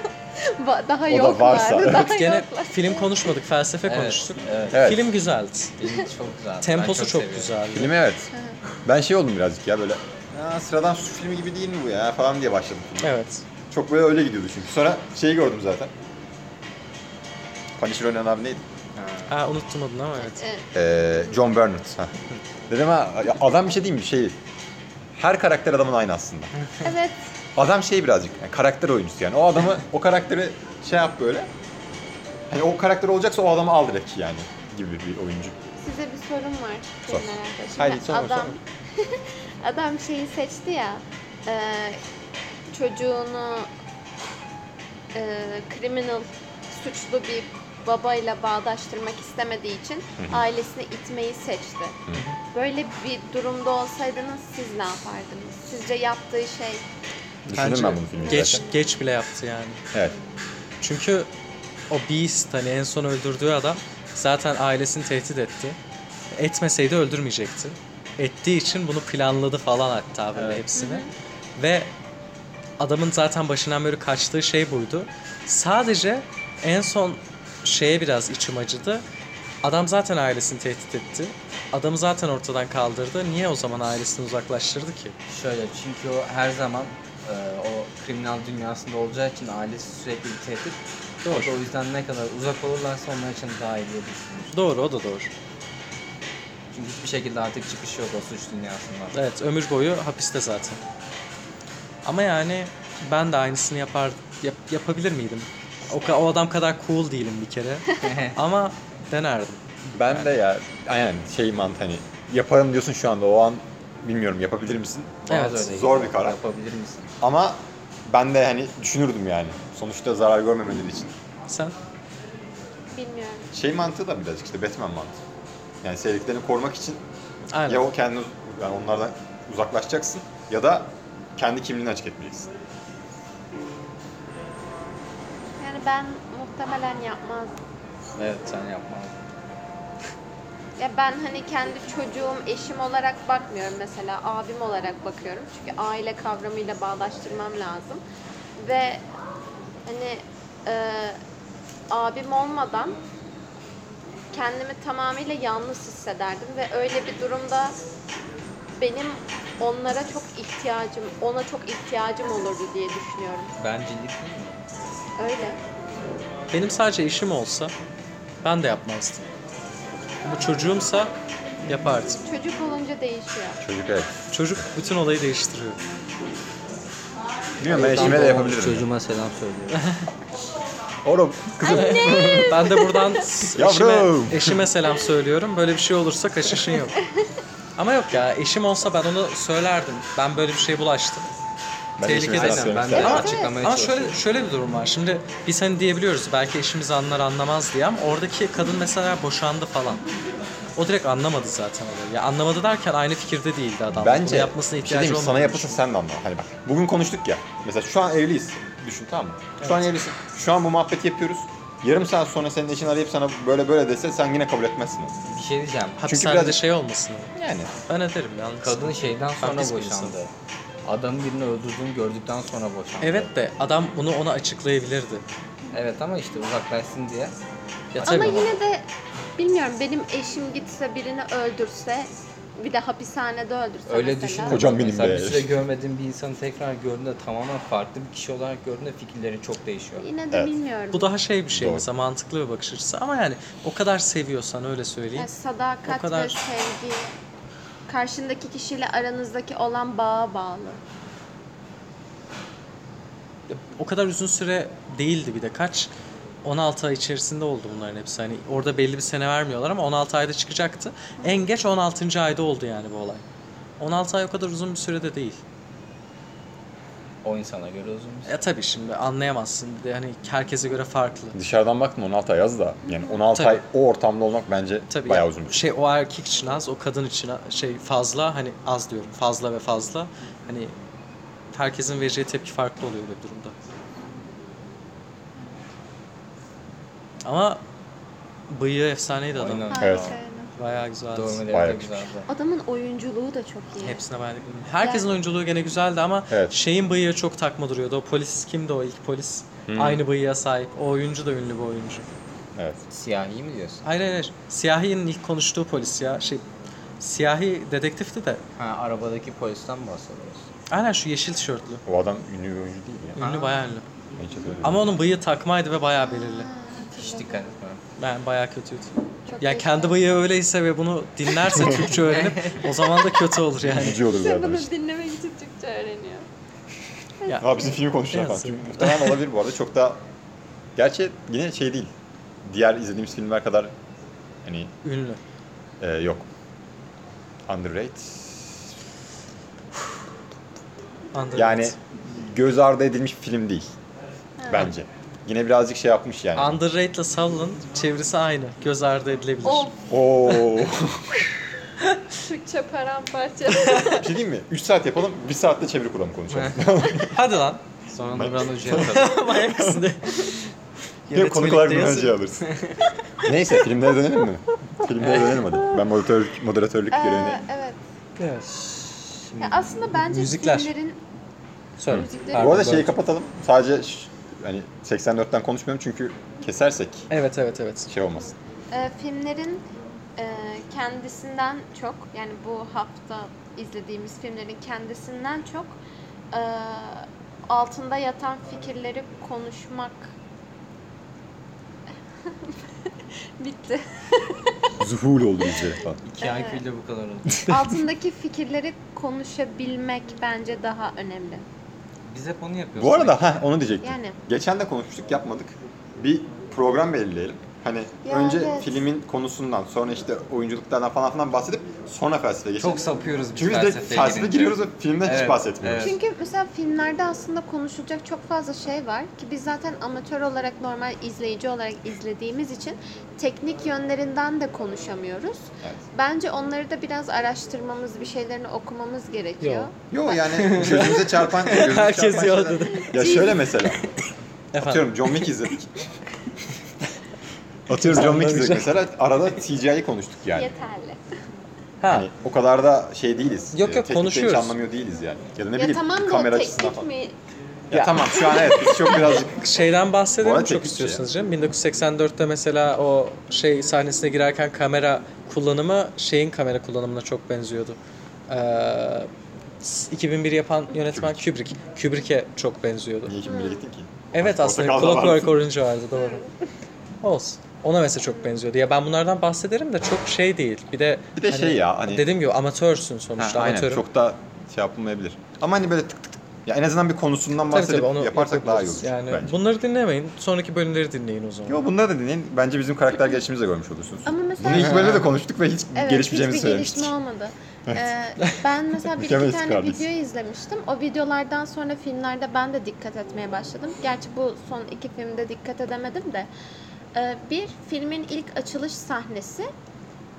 [SPEAKER 2] <laughs> Ba- daha
[SPEAKER 4] da
[SPEAKER 2] yoklar.
[SPEAKER 4] varsa, evet.
[SPEAKER 2] Daha
[SPEAKER 1] Gene
[SPEAKER 2] yoklar.
[SPEAKER 1] film konuşmadık, felsefe
[SPEAKER 5] Evet,
[SPEAKER 1] konuştuk.
[SPEAKER 5] Evet.
[SPEAKER 4] Evet.
[SPEAKER 1] Film güzeldi.
[SPEAKER 5] Film çok güzel.
[SPEAKER 1] Temposu çok, güzeldi.
[SPEAKER 4] Filmi evet. Ben şey oldum birazcık ya böyle. "Aa, sıradan su filmi gibi değil mi bu ya falan diye başladım. filme.
[SPEAKER 1] Evet.
[SPEAKER 4] Çok böyle öyle gidiyordu çünkü. Sonra şeyi gördüm zaten. Punisher oynayan abi neydi?
[SPEAKER 1] Ha unuttum adını ama evet.
[SPEAKER 2] Evet.
[SPEAKER 4] Ee, John Bernard. Ha. Dedim ha ya adam bir şey değil mi? Şey, her karakter adamın aynı aslında.
[SPEAKER 2] evet.
[SPEAKER 4] Adam şey birazcık yani karakter oyuncusu yani. O adamı o karakteri şey yap böyle. Hani o karakter olacaksa o adamı al direkt yani gibi bir oyuncu.
[SPEAKER 2] Size bir sorum var.
[SPEAKER 4] Sor.
[SPEAKER 2] Senin arkadaşın.
[SPEAKER 4] Haydi sor,
[SPEAKER 2] adam,
[SPEAKER 4] sor.
[SPEAKER 2] <laughs> adam şeyi seçti ya. e, çocuğunu e, criminal suçlu bir babayla bağdaştırmak istemediği için ailesini itmeyi seçti. Böyle bir durumda olsaydınız siz ne yapardınız? Sizce yaptığı şey
[SPEAKER 4] Düşündüm
[SPEAKER 1] Bence
[SPEAKER 4] ben bunu filmi
[SPEAKER 1] Geç,
[SPEAKER 4] izlerken.
[SPEAKER 1] geç bile yaptı yani.
[SPEAKER 4] Evet.
[SPEAKER 1] Çünkü o Beast hani en son öldürdüğü adam zaten ailesini tehdit etti. Etmeseydi öldürmeyecekti. Ettiği için bunu planladı falan hatta böyle
[SPEAKER 5] Evet.
[SPEAKER 1] hepsini. Ve adamın zaten başından beri kaçtığı şey buydu. Sadece en son şeye biraz içim acıdı. Adam zaten ailesini tehdit etti. Adamı zaten ortadan kaldırdı. Niye o zaman ailesini uzaklaştırdı ki?
[SPEAKER 5] Şöyle çünkü o her zaman e, o kriminal dünyasında olacağı için ailesi sürekli bir tehdit. O da O yüzden ne kadar uzak olurlarsa onlar için daha iyi diye düşünüyorum.
[SPEAKER 1] Doğru o da doğru.
[SPEAKER 5] Çünkü hiçbir şekilde artık çıkış yok o suç dünyasından.
[SPEAKER 1] Evet ömür boyu hapiste zaten. Ama yani ben de aynısını yapar yap- yapabilir miydim? O, ka- o adam kadar cool değilim bir kere. Ama denerdim.
[SPEAKER 4] Ben de ya aynen şey mantı hani yaparım diyorsun şu anda o an bilmiyorum yapabilir misin?
[SPEAKER 5] Bazı
[SPEAKER 1] Evet.
[SPEAKER 5] öyle
[SPEAKER 4] Zor bir karar.
[SPEAKER 5] Yapabilir misin?
[SPEAKER 4] Ama ben de hani düşünürdüm yani. Sonuçta zarar görmemeleri için.
[SPEAKER 1] Sen?
[SPEAKER 2] bilmiyorum.
[SPEAKER 4] Şey mantığı da birazcık işte Batman mantığı. Yani sevdiklerini korumak için
[SPEAKER 1] Aynen.
[SPEAKER 4] ya o kendini yani onlardan uzaklaşacaksın ya da kendi kimliğini açık etmeyeceksin.
[SPEAKER 2] Yani ben muhtemelen yapmazdım.
[SPEAKER 5] Evet sen yapmazdın.
[SPEAKER 2] Ya ben hani kendi çocuğum, eşim olarak bakmıyorum mesela abim olarak bakıyorum. Çünkü aile kavramıyla bağdaştırmam lazım. Ve hani e, abim olmadan kendimi tamamıyla yalnız hissederdim ve öyle bir durumda benim onlara çok ihtiyacım, ona çok ihtiyacım olurdu diye düşünüyorum.
[SPEAKER 5] Bencillik değil mi?
[SPEAKER 2] Öyle.
[SPEAKER 1] Benim sadece işim olsa ben de yapmazdım. Ama çocuğumsa yapardım.
[SPEAKER 2] Çocuk olunca değişiyor.
[SPEAKER 4] Çocuk evet.
[SPEAKER 1] Çocuk bütün olayı değiştiriyor.
[SPEAKER 4] Bilmiyorum ben eşime de
[SPEAKER 5] Doğmuş
[SPEAKER 4] yapabilirim. yani.
[SPEAKER 5] Çocuğuma selam söylüyorum.
[SPEAKER 1] <laughs>
[SPEAKER 4] Oğlum kızım.
[SPEAKER 1] Ben de buradan eşime,
[SPEAKER 4] Yavrum.
[SPEAKER 1] eşime selam söylüyorum. Böyle bir şey olursa kaçışın yok. Ama yok ya eşim olsa ben onu söylerdim. Ben böyle bir şeye bulaştım.
[SPEAKER 4] ben eşime
[SPEAKER 1] Tehlikeli.
[SPEAKER 4] selam söylüyorum.
[SPEAKER 5] ben de
[SPEAKER 1] Ama-
[SPEAKER 5] açıklamaya
[SPEAKER 1] Ama
[SPEAKER 5] çalışıyorum.
[SPEAKER 1] şöyle şöyle bir durum var. Şimdi biz hani diyebiliyoruz belki eşimiz anlar anlamaz diye ama oradaki kadın mesela boşandı falan. O direkt anlamadı zaten olayı. Ya anlamadı derken aynı fikirde değildi adam.
[SPEAKER 4] Bence
[SPEAKER 1] Bunu yapmasına
[SPEAKER 4] bir şey
[SPEAKER 1] ihtiyacı
[SPEAKER 4] diyeyim mi?
[SPEAKER 1] olmadı.
[SPEAKER 4] sana yapılsın sen de anla. Hani bak bugün konuştuk ya. Mesela şu an evliyiz. Düşün tamam mı? Şu an evlisin. Şu an bu muhabbeti yapıyoruz. Yarım saat sonra senin eşin arayıp sana böyle böyle dese sen yine kabul etmezsin.
[SPEAKER 5] Bir şey diyeceğim.
[SPEAKER 1] Hapishanede
[SPEAKER 4] biraz-
[SPEAKER 1] şey olmasın.
[SPEAKER 4] Yani.
[SPEAKER 1] Ben ederim yalnız.
[SPEAKER 5] Kadın şeyden sonra
[SPEAKER 1] Hapis bir
[SPEAKER 5] boşandı.
[SPEAKER 1] insan.
[SPEAKER 5] Adamın birini öldürdüğünü gördükten sonra boşandı.
[SPEAKER 1] Evet de adam bunu ona açıklayabilirdi.
[SPEAKER 5] Evet ama işte uzaklaşsın diye.
[SPEAKER 1] Ya
[SPEAKER 2] Ama
[SPEAKER 1] tabii.
[SPEAKER 2] yine de bilmiyorum benim eşim gitse birini öldürse bir de hapishanede öldürse
[SPEAKER 5] Öyle
[SPEAKER 2] mesela.
[SPEAKER 5] düşünme.
[SPEAKER 4] Kocam benim
[SPEAKER 5] Mesela
[SPEAKER 4] be.
[SPEAKER 5] bir süre görmediğin bir insanı tekrar gördüğünde tamamen farklı bir kişi olarak gördüğünde fikirlerin çok değişiyor.
[SPEAKER 2] Yine de
[SPEAKER 4] Evet.
[SPEAKER 2] bilmiyorum.
[SPEAKER 1] Bu daha şey bir şey
[SPEAKER 4] Doğru.
[SPEAKER 1] mesela mantıklı bir bakış açısı ama yani o kadar seviyorsan öyle söyleyeyim.
[SPEAKER 2] Yani sadakat
[SPEAKER 1] O kadar-
[SPEAKER 2] ve sevgi karşındaki kişiyle aranızdaki olan bağa bağlı.
[SPEAKER 1] o kadar uzun süre değildi bir de kaç 16 ay içerisinde oldu bunların hepsi. Hani orada belli bir sene vermiyorlar ama 16 ayda çıkacaktı. En geç 16. ayda oldu yani bu olay. 16 ay o kadar uzun bir sürede değil.
[SPEAKER 5] O insana göre uzun bir süre.
[SPEAKER 1] E tabii şimdi anlayamazsın. Bir de hani herkese göre farklı.
[SPEAKER 4] Dışarıdan baktım 16 ay az da. Yani 16
[SPEAKER 1] Tabii.
[SPEAKER 4] ay o ortamda olmak bence
[SPEAKER 1] Tabii
[SPEAKER 4] bayağı
[SPEAKER 1] ya-
[SPEAKER 4] uzun bir şey.
[SPEAKER 1] Şey o erkek için az, o kadın için a- şey fazla hani az diyorum. Fazla ve fazla. Hani herkesin vereceği tepki farklı oluyor böyle bir durumda. Ama bıyığı efsaneydi adam.
[SPEAKER 5] Aynen.
[SPEAKER 2] Harika,
[SPEAKER 4] Evet.
[SPEAKER 2] aynen.
[SPEAKER 1] Bayağı güzeldi.
[SPEAKER 5] Dövmeleri
[SPEAKER 4] Bayağı
[SPEAKER 5] de
[SPEAKER 4] güçmüş.
[SPEAKER 5] güzeldi.
[SPEAKER 2] Adamın oyunculuğu da çok iyi.
[SPEAKER 1] Hepsine ben Herkesin
[SPEAKER 2] Yani-
[SPEAKER 1] oyunculuğu gene güzeldi ama
[SPEAKER 4] Evet.
[SPEAKER 1] şeyin bıyığı çok takma duruyordu. O polis kimdi o ilk polis?
[SPEAKER 4] Hmm.
[SPEAKER 1] Aynı bıyığa sahip. O oyuncu da ünlü bir oyuncu.
[SPEAKER 4] Evet.
[SPEAKER 5] Siyahi mi diyorsun?
[SPEAKER 1] Hayır hayır, hayır. Siyahi'nin ilk konuştuğu polis ya. Şey, siyahi dedektifti de.
[SPEAKER 5] Ha arabadaki polisten bahsediyorsun.
[SPEAKER 1] Aynen şu yeşil tişörtlü.
[SPEAKER 4] O adam ünlü bir oyuncu değil ya.
[SPEAKER 1] Ünlü
[SPEAKER 5] Aa.
[SPEAKER 1] bayağı ünlü.
[SPEAKER 4] Ben hiç hatırlamıyorum.
[SPEAKER 1] Ama onun bıyığı takmaydı ve bayağı belirli.
[SPEAKER 5] Hiç dikkat etmiyorum.
[SPEAKER 1] Ben bayağı kötüydü.
[SPEAKER 2] Çok
[SPEAKER 1] Ya
[SPEAKER 2] iyi.
[SPEAKER 1] kendi bıyığı öyleyse ve bunu
[SPEAKER 4] <laughs>
[SPEAKER 1] dinlerse Türkçe öğrenip o zaman da kötü olur yani.
[SPEAKER 4] Üzücü olur
[SPEAKER 2] Sen
[SPEAKER 4] zaten.
[SPEAKER 2] bunu
[SPEAKER 4] işte.
[SPEAKER 2] dinlemek için Türkçe öğreniyor.
[SPEAKER 4] Ha bizim filmi konuşacağım falan.
[SPEAKER 1] Yazık.
[SPEAKER 4] Çünkü muhtemelen olabilir bu arada. Çok da... Gerçi yine şey değil. Diğer izlediğimiz filmler kadar hani
[SPEAKER 1] <laughs> Ünlü.
[SPEAKER 4] e, yok. Underrated.
[SPEAKER 1] Underrated.
[SPEAKER 4] Yani göz ardı edilmiş bir film değil.
[SPEAKER 2] Ha.
[SPEAKER 4] Bence. Yine birazcık şey yapmış yani.
[SPEAKER 1] Underrated ile Sullen çevresi aynı. Göz ardı edilebilir.
[SPEAKER 2] Of
[SPEAKER 4] Oo.
[SPEAKER 2] Türkçe paramparça.
[SPEAKER 4] bir şey diyeyim mi? 3 saat yapalım, 1 saatte çeviri kuramı konuşalım.
[SPEAKER 1] Hadi lan. <laughs>
[SPEAKER 5] Sonra Nurhan
[SPEAKER 4] <laughs>
[SPEAKER 5] Hoca'ya tabii.
[SPEAKER 1] Manyak mısın diye.
[SPEAKER 4] Hep konuklar bir
[SPEAKER 1] Yönetmelikte
[SPEAKER 4] önce alırsın. Neyse filmlere dönelim mi? Filmlere dönelim hadi. Ben moderatör, moderatörlük görevini...
[SPEAKER 2] ee, evet.
[SPEAKER 1] yazıyor.
[SPEAKER 5] Şimdi
[SPEAKER 2] Ya aslında bence
[SPEAKER 1] Müzikler.
[SPEAKER 2] filmlerin
[SPEAKER 1] Söyle.
[SPEAKER 2] Müzikleri-
[SPEAKER 1] Pardon,
[SPEAKER 4] Bu arada şey
[SPEAKER 1] böldüm.
[SPEAKER 4] şeyi kapatalım. Sadece ş- hani 84'ten konuşmuyorum çünkü kesersek
[SPEAKER 1] Evet evet evet.
[SPEAKER 4] şey olmaz.
[SPEAKER 2] e, filmlerin e, kendisinden çok yani bu hafta izlediğimiz filmlerin kendisinden çok e, altında yatan fikirleri konuşmak <laughs> bitti.
[SPEAKER 4] Zuhul oldu bizlere falan.
[SPEAKER 5] iki IQ ile bu kadar oldu.
[SPEAKER 2] Altındaki fikirleri konuşabilmek bence daha önemli.
[SPEAKER 5] <laughs> Biz hep onu yapıyoruz.
[SPEAKER 4] Bu arada ha onu diyecektim.
[SPEAKER 2] Yani.
[SPEAKER 4] Geçen de konuşmuştuk yapmadık. Bir program belirleyelim. Hani
[SPEAKER 2] Ya
[SPEAKER 4] önce
[SPEAKER 2] evet.
[SPEAKER 4] filmin konusundan sonra işte oyunculuklardan falan filan bahsedip sonra felsefeye geçelim.
[SPEAKER 5] çok sapıyoruz biz
[SPEAKER 4] Çünkü biz de
[SPEAKER 5] felsefeye
[SPEAKER 4] felsefe
[SPEAKER 5] girince.
[SPEAKER 4] giriyoruz ve filmden hiç
[SPEAKER 5] Evet,
[SPEAKER 4] bahsetmiyoruz.
[SPEAKER 5] evet.
[SPEAKER 2] Çünkü mesela filmlerde aslında konuşulacak çok fazla şey var ki biz zaten amatör olarak normal izleyici olarak izlediğimiz için teknik yönlerinden de konuşamıyoruz.
[SPEAKER 4] Evet.
[SPEAKER 2] Bence onları da biraz araştırmamız, bir şeylerini okumamız gerekiyor.
[SPEAKER 1] Yo.
[SPEAKER 4] Yo yani
[SPEAKER 1] <laughs>
[SPEAKER 4] gözümüze çarpan, gözümüze
[SPEAKER 1] Herkes
[SPEAKER 4] çarpan
[SPEAKER 1] yo
[SPEAKER 4] şeyler-
[SPEAKER 1] dedi.
[SPEAKER 4] Ya şöyle mesela.
[SPEAKER 1] <laughs> Efendim.
[SPEAKER 4] Atıyorum John Wick izledik. Atıyorum John Wick izledik mesela. Arada CGI'yi konuştuk yani.
[SPEAKER 2] Yeterli.
[SPEAKER 1] Ha.
[SPEAKER 4] Hani o kadar da şey değiliz.
[SPEAKER 1] Yok, yok,
[SPEAKER 4] teknikte
[SPEAKER 1] konuşuyoruz.
[SPEAKER 4] Hiç anlamıyor değiliz yani. Ya da ne
[SPEAKER 2] ya
[SPEAKER 4] bileyim
[SPEAKER 2] tamam da o
[SPEAKER 4] kamera
[SPEAKER 2] teknik
[SPEAKER 4] açısından falan.
[SPEAKER 2] mi?
[SPEAKER 4] Ya, tamam şu an evet biz çok birazcık
[SPEAKER 1] Şeyden
[SPEAKER 4] Bu
[SPEAKER 1] bahsedelim
[SPEAKER 4] arada
[SPEAKER 1] çok
[SPEAKER 4] teknik
[SPEAKER 1] istiyorsunuz canım. 1984'te mesela o şey sahnesine girerken kamera kullanımı şeyin kamera kullanımına çok benziyordu. Ee, 2001 yapan yönetmen Kubrick. Kubrick'e çok benziyordu.
[SPEAKER 4] <laughs> niye kim bile gittin ki?
[SPEAKER 1] Evet aslında
[SPEAKER 4] Portakal da
[SPEAKER 1] Clockwork
[SPEAKER 4] vardı.
[SPEAKER 1] Orange vardı doğru. Olsun. Ona mesela çok benziyordu. Ya ben bunlardan bahsederim de çok şey değil. Bir de
[SPEAKER 4] Bir de şey ya, hani-
[SPEAKER 1] dediğim gibi amatörsün
[SPEAKER 4] Ha,
[SPEAKER 1] sonuçta
[SPEAKER 4] aynen
[SPEAKER 1] amatörüm.
[SPEAKER 4] çok da şey yapılmayabilir. Ama hani böyle tık tık tık. Ya en azından bir konusundan
[SPEAKER 1] Tabii
[SPEAKER 4] bahsedip
[SPEAKER 1] tabii onu
[SPEAKER 4] yaparsak daha iyi olur.
[SPEAKER 1] yapabiliriz. Yani
[SPEAKER 4] bence.
[SPEAKER 1] bunları dinlemeyin. Sonraki bölümleri dinleyin o zaman.
[SPEAKER 4] Yo bunları da dinleyin. Bence bizim karakter gelişimimizi de görmüş olursunuz.
[SPEAKER 2] Ama mesela
[SPEAKER 4] Bunu ilk bölümde de konuştuk ve hiç
[SPEAKER 2] evet,
[SPEAKER 4] gelişmeyeceğimizi
[SPEAKER 2] hiçbir
[SPEAKER 4] söylemiştik.
[SPEAKER 2] gelişme
[SPEAKER 4] <laughs>
[SPEAKER 2] olmadı. Ee, ben mesela bir
[SPEAKER 4] Mükemmel
[SPEAKER 2] iki tane
[SPEAKER 4] istikrarlıyız.
[SPEAKER 2] video izlemiştim. O videolardan sonra filmlerde ben de dikkat etmeye başladım. Gerçi bu son iki filmde dikkat edemedim de. Ee, bir filmin ilk açılış sahnesi.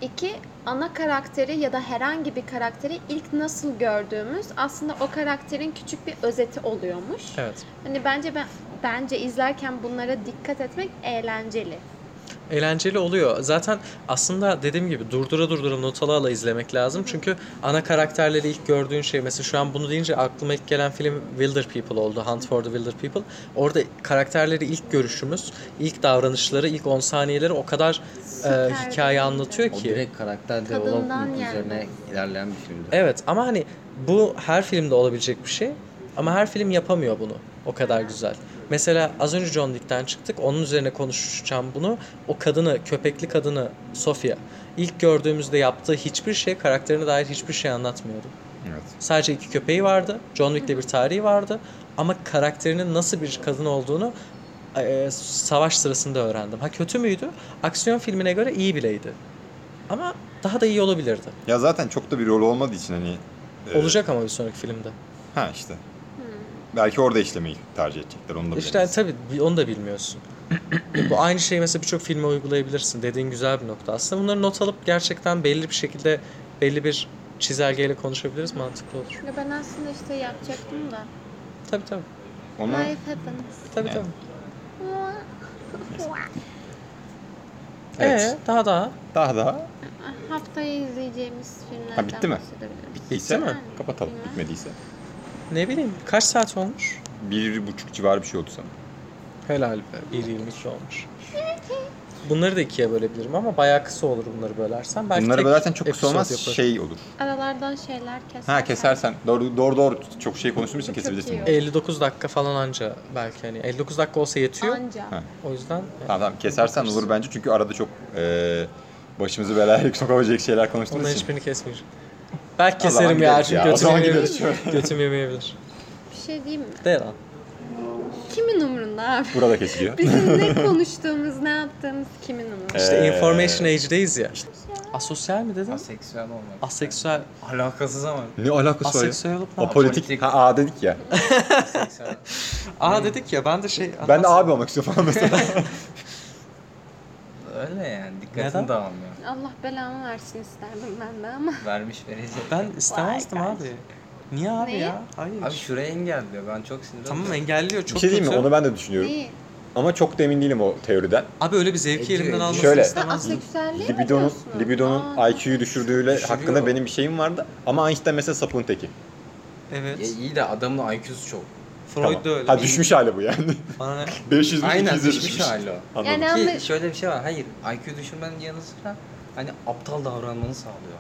[SPEAKER 2] iki ana karakteri ya da herhangi bir karakteri ilk nasıl gördüğümüz aslında o karakterin küçük bir özeti oluyormuş.
[SPEAKER 1] Evet.
[SPEAKER 2] Hani bence ben bence izlerken bunlara dikkat etmek eğlenceli.
[SPEAKER 1] Eğlenceli oluyor. Zaten aslında dediğim gibi durdura durdura not ala ala izlemek lazım. Çünkü ana karakterleri ilk gördüğün şey mesela şu an bunu deyince aklıma ilk gelen film Wilder People oldu. Hunt for the Wilder People. Orada karakterleri ilk görüşümüz, ilk davranışları, ilk 10 saniyeleri o kadar e, hikaye anlatıyor
[SPEAKER 5] O
[SPEAKER 1] ki.
[SPEAKER 5] direkt karakter
[SPEAKER 2] Kadından
[SPEAKER 5] development
[SPEAKER 2] yani.
[SPEAKER 5] üzerine ilerleyen bir filmdi.
[SPEAKER 1] Evet ama hani bu her filmde olabilecek bir şey. Ama her film yapamıyor bunu o kadar güzel. Mesela az önce John Wick'ten çıktık. Onun üzerine konuşacağım bunu. O kadını, köpekli kadını Sofia. ilk gördüğümüzde yaptığı hiçbir şey karakterine dair hiçbir şey anlatmıyordu.
[SPEAKER 4] Evet.
[SPEAKER 1] Sadece iki köpeği vardı. John Wick'te bir tarihi vardı. Ama karakterinin nasıl bir kadın olduğunu e, savaş sırasında öğrendim. Ha kötü müydü? Aksiyon filmine göre iyi bileydi. Ama daha da iyi olabilirdi.
[SPEAKER 4] Ya zaten çok da bir rol olmadığı için hani... e,
[SPEAKER 1] Olacak ama bir sonraki filmde.
[SPEAKER 4] Ha işte. Belki orada işlemeyi tercih edecekler. Onu da
[SPEAKER 1] İşte
[SPEAKER 4] bilemeyiz.
[SPEAKER 1] tabii bi- onu da bilmiyorsun. <clears throat> Bu aynı şeyi mesela birçok filme uygulayabilirsin. Dediğin güzel bir nokta. Aslında bunları not alıp gerçekten belli bir şekilde belli bir çizelgeyle konuşabiliriz. Mantıklı olur.
[SPEAKER 2] Ya Hani ben aslında işte yapacaktım da.
[SPEAKER 1] Tabii tabii.
[SPEAKER 4] Onu...
[SPEAKER 2] Life happens.
[SPEAKER 1] Tabii
[SPEAKER 4] Yani.
[SPEAKER 1] tabii.
[SPEAKER 4] Evet.
[SPEAKER 1] Ee, daha daha.
[SPEAKER 4] Daha daha
[SPEAKER 2] Haftayı izleyeceğimiz filmlerden
[SPEAKER 4] Ha, bitti mi?
[SPEAKER 2] bahsedebiliriz.
[SPEAKER 4] bittiyse
[SPEAKER 1] mi?
[SPEAKER 4] kapatalım.
[SPEAKER 2] Bilmem.
[SPEAKER 4] Bitmediyse.
[SPEAKER 1] Ne bileyim kaç saat olmuş?
[SPEAKER 4] Bir buçuk civarı bir şey oldu sanırım.
[SPEAKER 1] Helal be. 1.22 olmuş. Bunları da ikiye bölebilirim ama bayağı kısa olur bunları bölersen. Belki
[SPEAKER 4] Bunları
[SPEAKER 1] tek
[SPEAKER 4] bölersen çok kısa
[SPEAKER 1] episode
[SPEAKER 4] olmaz
[SPEAKER 1] yaparım.
[SPEAKER 4] şey olur.
[SPEAKER 2] Aralardan şeyler keser.
[SPEAKER 4] Ha kesersen doğru doğru doğru çok şey konuştuğumuz için
[SPEAKER 2] Çok iyi
[SPEAKER 4] kesebilirsin.
[SPEAKER 2] oldu.
[SPEAKER 1] 59 dakika falan anca belki hani 59 dakika olsa yetiyor.
[SPEAKER 2] Anca.
[SPEAKER 4] Ha.
[SPEAKER 1] O yüzden e,
[SPEAKER 4] Tamam tamam kesersen olur bence çünkü arada çok e, başımızı belaya <laughs> sokabilecek şeyler konuştuğumuz
[SPEAKER 1] Bunların
[SPEAKER 4] için.
[SPEAKER 1] hiçbirini kesmeyeceğim. Belki
[SPEAKER 4] O zaman
[SPEAKER 1] keserim ya
[SPEAKER 4] gideriz
[SPEAKER 1] çünkü
[SPEAKER 4] ya, o
[SPEAKER 1] götüm
[SPEAKER 4] zaman
[SPEAKER 1] yemeyebilir.
[SPEAKER 4] gideriz
[SPEAKER 1] götüm yemeyebilir.
[SPEAKER 2] Bir şey diyeyim mi?
[SPEAKER 1] De lan.
[SPEAKER 2] Kimin umurunda abi? <laughs>
[SPEAKER 4] Burada kesiliyor.
[SPEAKER 2] Bizim
[SPEAKER 4] <laughs>
[SPEAKER 2] ne konuştuğumuz, ne yaptığımız kimin umurunda?
[SPEAKER 1] İşte
[SPEAKER 4] Ee,
[SPEAKER 1] information age'deyiz ya. Asosyal mi dedin?
[SPEAKER 5] Aseksüel olmak.
[SPEAKER 1] Aseksüel.
[SPEAKER 5] Ah, Alakasız ama.
[SPEAKER 4] Ne alakası var ya?
[SPEAKER 1] Aseksüel olup ne
[SPEAKER 4] O
[SPEAKER 1] yapacak?
[SPEAKER 4] politik. Ha A dedik ya.
[SPEAKER 5] Aseksüel.
[SPEAKER 1] Aa dedik ya ben de şey...
[SPEAKER 4] Ben de abi olmak istiyorum falan mesela.
[SPEAKER 2] <laughs>
[SPEAKER 5] Öyle yani.
[SPEAKER 1] Neden?
[SPEAKER 5] Dikkatin dağılmıyor.
[SPEAKER 2] Allah belamı versin isterdim ben de ama.
[SPEAKER 5] Vermiş verecek.
[SPEAKER 1] Ben istemezdim
[SPEAKER 2] Vay
[SPEAKER 1] abi. Niye abi
[SPEAKER 2] Neyi?
[SPEAKER 1] ya? Hayır.
[SPEAKER 5] Abi şuraya engelliyor. Ben çok sinir
[SPEAKER 1] tamam
[SPEAKER 5] oluyorum.
[SPEAKER 1] engelliyor
[SPEAKER 4] bir
[SPEAKER 1] çok
[SPEAKER 4] şey
[SPEAKER 1] kötü.
[SPEAKER 4] diyeyim mi? Onu ben de düşünüyorum.
[SPEAKER 2] Neyi?
[SPEAKER 4] Ama çok da emin değilim o teoriden.
[SPEAKER 1] Abi öyle bir zevki
[SPEAKER 5] Ediyor,
[SPEAKER 1] elimden
[SPEAKER 5] ediyor.
[SPEAKER 1] almasını
[SPEAKER 4] Şöyle.
[SPEAKER 2] Ha,
[SPEAKER 1] istemezdim.
[SPEAKER 2] aseksüelliğe mi
[SPEAKER 4] Libidonun,
[SPEAKER 2] diyorsun?
[SPEAKER 4] libidonun
[SPEAKER 2] Aa,
[SPEAKER 4] IQ'yu düşürdüğüyle
[SPEAKER 5] Düşürüyor.
[SPEAKER 4] hakkında benim bir şeyim vardı. Ama Einstein mesela sapığın teki.
[SPEAKER 1] Evet.
[SPEAKER 5] Ya iyi de adamın IQ'su çok.
[SPEAKER 1] Freud da öyle.
[SPEAKER 4] Ha düşmüş hali bu yani. <laughs>
[SPEAKER 1] Bana ne?
[SPEAKER 4] 500 bin
[SPEAKER 5] Aynen
[SPEAKER 4] 200'e
[SPEAKER 5] düşmüş hali o.
[SPEAKER 4] Anladım.
[SPEAKER 2] Yani-
[SPEAKER 5] Ki
[SPEAKER 2] Ama-
[SPEAKER 5] şöyle bir şey var. Hayır IQ düşürmenin yanı sıra hani aptal davranmanı sağlıyor.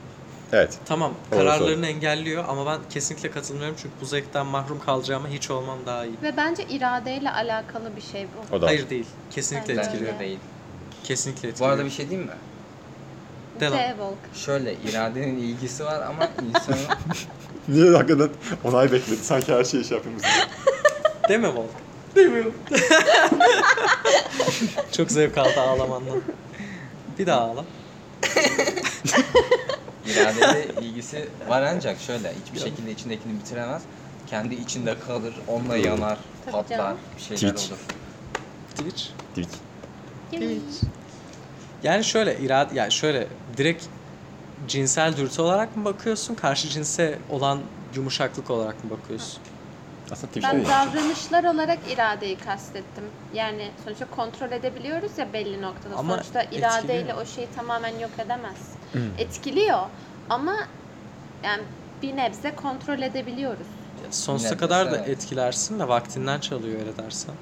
[SPEAKER 4] Evet.
[SPEAKER 1] Tamam
[SPEAKER 4] Doğru
[SPEAKER 1] kararlarını engelliyor ama ben kesinlikle katılmıyorum çünkü bu zevkten mahrum kalacağıma hiç olmam daha iyi.
[SPEAKER 2] Ve bence iradeyle alakalı bir şey bu.
[SPEAKER 4] O da.
[SPEAKER 1] Hayır değil. Kesinlikle
[SPEAKER 2] Bence
[SPEAKER 1] etkiliyor.
[SPEAKER 2] de.
[SPEAKER 5] değil.
[SPEAKER 1] Kesinlikle
[SPEAKER 5] Bu
[SPEAKER 1] etkiliyor.
[SPEAKER 5] arada bir şey diyeyim mi?
[SPEAKER 1] De lan.
[SPEAKER 2] Devil.
[SPEAKER 5] Şöyle iradenin ilgisi var ama insanın
[SPEAKER 2] <laughs>
[SPEAKER 4] Niye hakikaten onay bekledi? Sanki her şeyi
[SPEAKER 2] <laughs>
[SPEAKER 4] şey yapıyormuş.
[SPEAKER 1] Deme Volk. Demiyorum. <laughs> Çok zevk aldı ağlamandan. Bir daha ağla.
[SPEAKER 5] iradede ilgisi var ancak şöyle hiçbir şekilde içindekini bitiremez. Kendi içinde kalır, onunla yanar,
[SPEAKER 2] Tabii
[SPEAKER 5] patlar,
[SPEAKER 2] canım.
[SPEAKER 5] bir şeyler
[SPEAKER 4] Twitch.
[SPEAKER 5] olur.
[SPEAKER 1] Twitch.
[SPEAKER 4] Tweet.
[SPEAKER 1] Yani şöyle irade yani şöyle direkt cinsel dürtü olarak mı bakıyorsun? Karşı cinse olan yumuşaklık olarak mı bakıyorsun?
[SPEAKER 4] Aslında Twitch
[SPEAKER 2] Ben
[SPEAKER 4] değil.
[SPEAKER 2] davranışlar olarak iradeyi kastettim. Yani sonuçta kontrol edebiliyoruz ya belli noktada.
[SPEAKER 1] Ama
[SPEAKER 2] sonuçta
[SPEAKER 1] etkiliyor. Hmm.
[SPEAKER 2] iradeyle o şeyi tamamen yok edemez. Etkiliyor ama yani bir nebze kontrol edebiliyoruz.
[SPEAKER 1] Ya sonsuza
[SPEAKER 5] Yine de
[SPEAKER 1] kadar da
[SPEAKER 5] evet.
[SPEAKER 1] etkilersin de vaktinden çalıyor öyle dersen.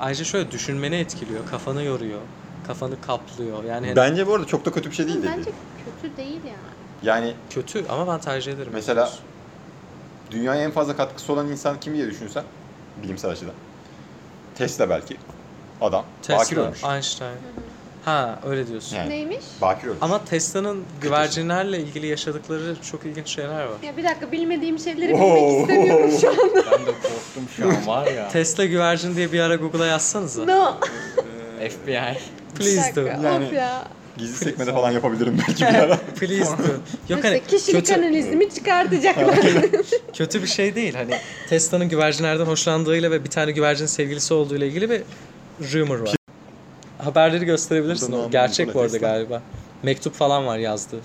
[SPEAKER 1] Ayrıca şöyle düşünmeni etkiliyor, kafanı yoruyor, kafanı kaplıyor. Yani hani
[SPEAKER 4] Bence bu arada çok da kötü bir şey değil dedi.
[SPEAKER 2] Bence kötü değil yani.
[SPEAKER 4] Yani
[SPEAKER 1] kötü ama ben tercih ederim.
[SPEAKER 4] mesela dünyaya en fazla katkısı olan insan kim diye düşünsen bilimsel açıdan. Tesla belki. Adam. Bakir
[SPEAKER 1] Tesla,
[SPEAKER 4] ölmüş.
[SPEAKER 1] Einstein. Ha öyle diyorsun.
[SPEAKER 4] Yani.
[SPEAKER 2] Neymiş?
[SPEAKER 4] Bakir ölmüş.
[SPEAKER 1] Ama Tesla'nın güvercinlerle ilgili yaşadıkları çok ilginç şeyler var.
[SPEAKER 2] Ya bir dakika bilmediğim şeyleri
[SPEAKER 4] Oo.
[SPEAKER 2] bilmek istemiyorum şu an.
[SPEAKER 5] <laughs> Ben de korktum şu an var ya.
[SPEAKER 1] Tesla güvercin diye bir ara Google'a <laughs> yazsanıza.
[SPEAKER 2] No.
[SPEAKER 5] FBI.
[SPEAKER 2] Bir
[SPEAKER 1] Please do.
[SPEAKER 2] dakika. Of ya.
[SPEAKER 4] Gizli sekmede falan yapabilirim belki bir ara.
[SPEAKER 1] Please
[SPEAKER 2] <laughs>
[SPEAKER 1] do. Yok
[SPEAKER 2] Mesela
[SPEAKER 1] hani
[SPEAKER 2] kişilik
[SPEAKER 1] kötü,
[SPEAKER 2] analizimi çıkartacaklar.
[SPEAKER 1] kötü bir şey değil. Hani Tesla'nın güvercinlerden hoşlandığıyla ve bir tane güvercin sevgilisi olduğuyla ilgili bir rumor var. Haberleri gösterebilirsin.
[SPEAKER 4] Buradan
[SPEAKER 1] O gerçek
[SPEAKER 4] Nikola
[SPEAKER 1] bu arada
[SPEAKER 4] Tesla.
[SPEAKER 1] galiba. Mektup falan var yazdığı.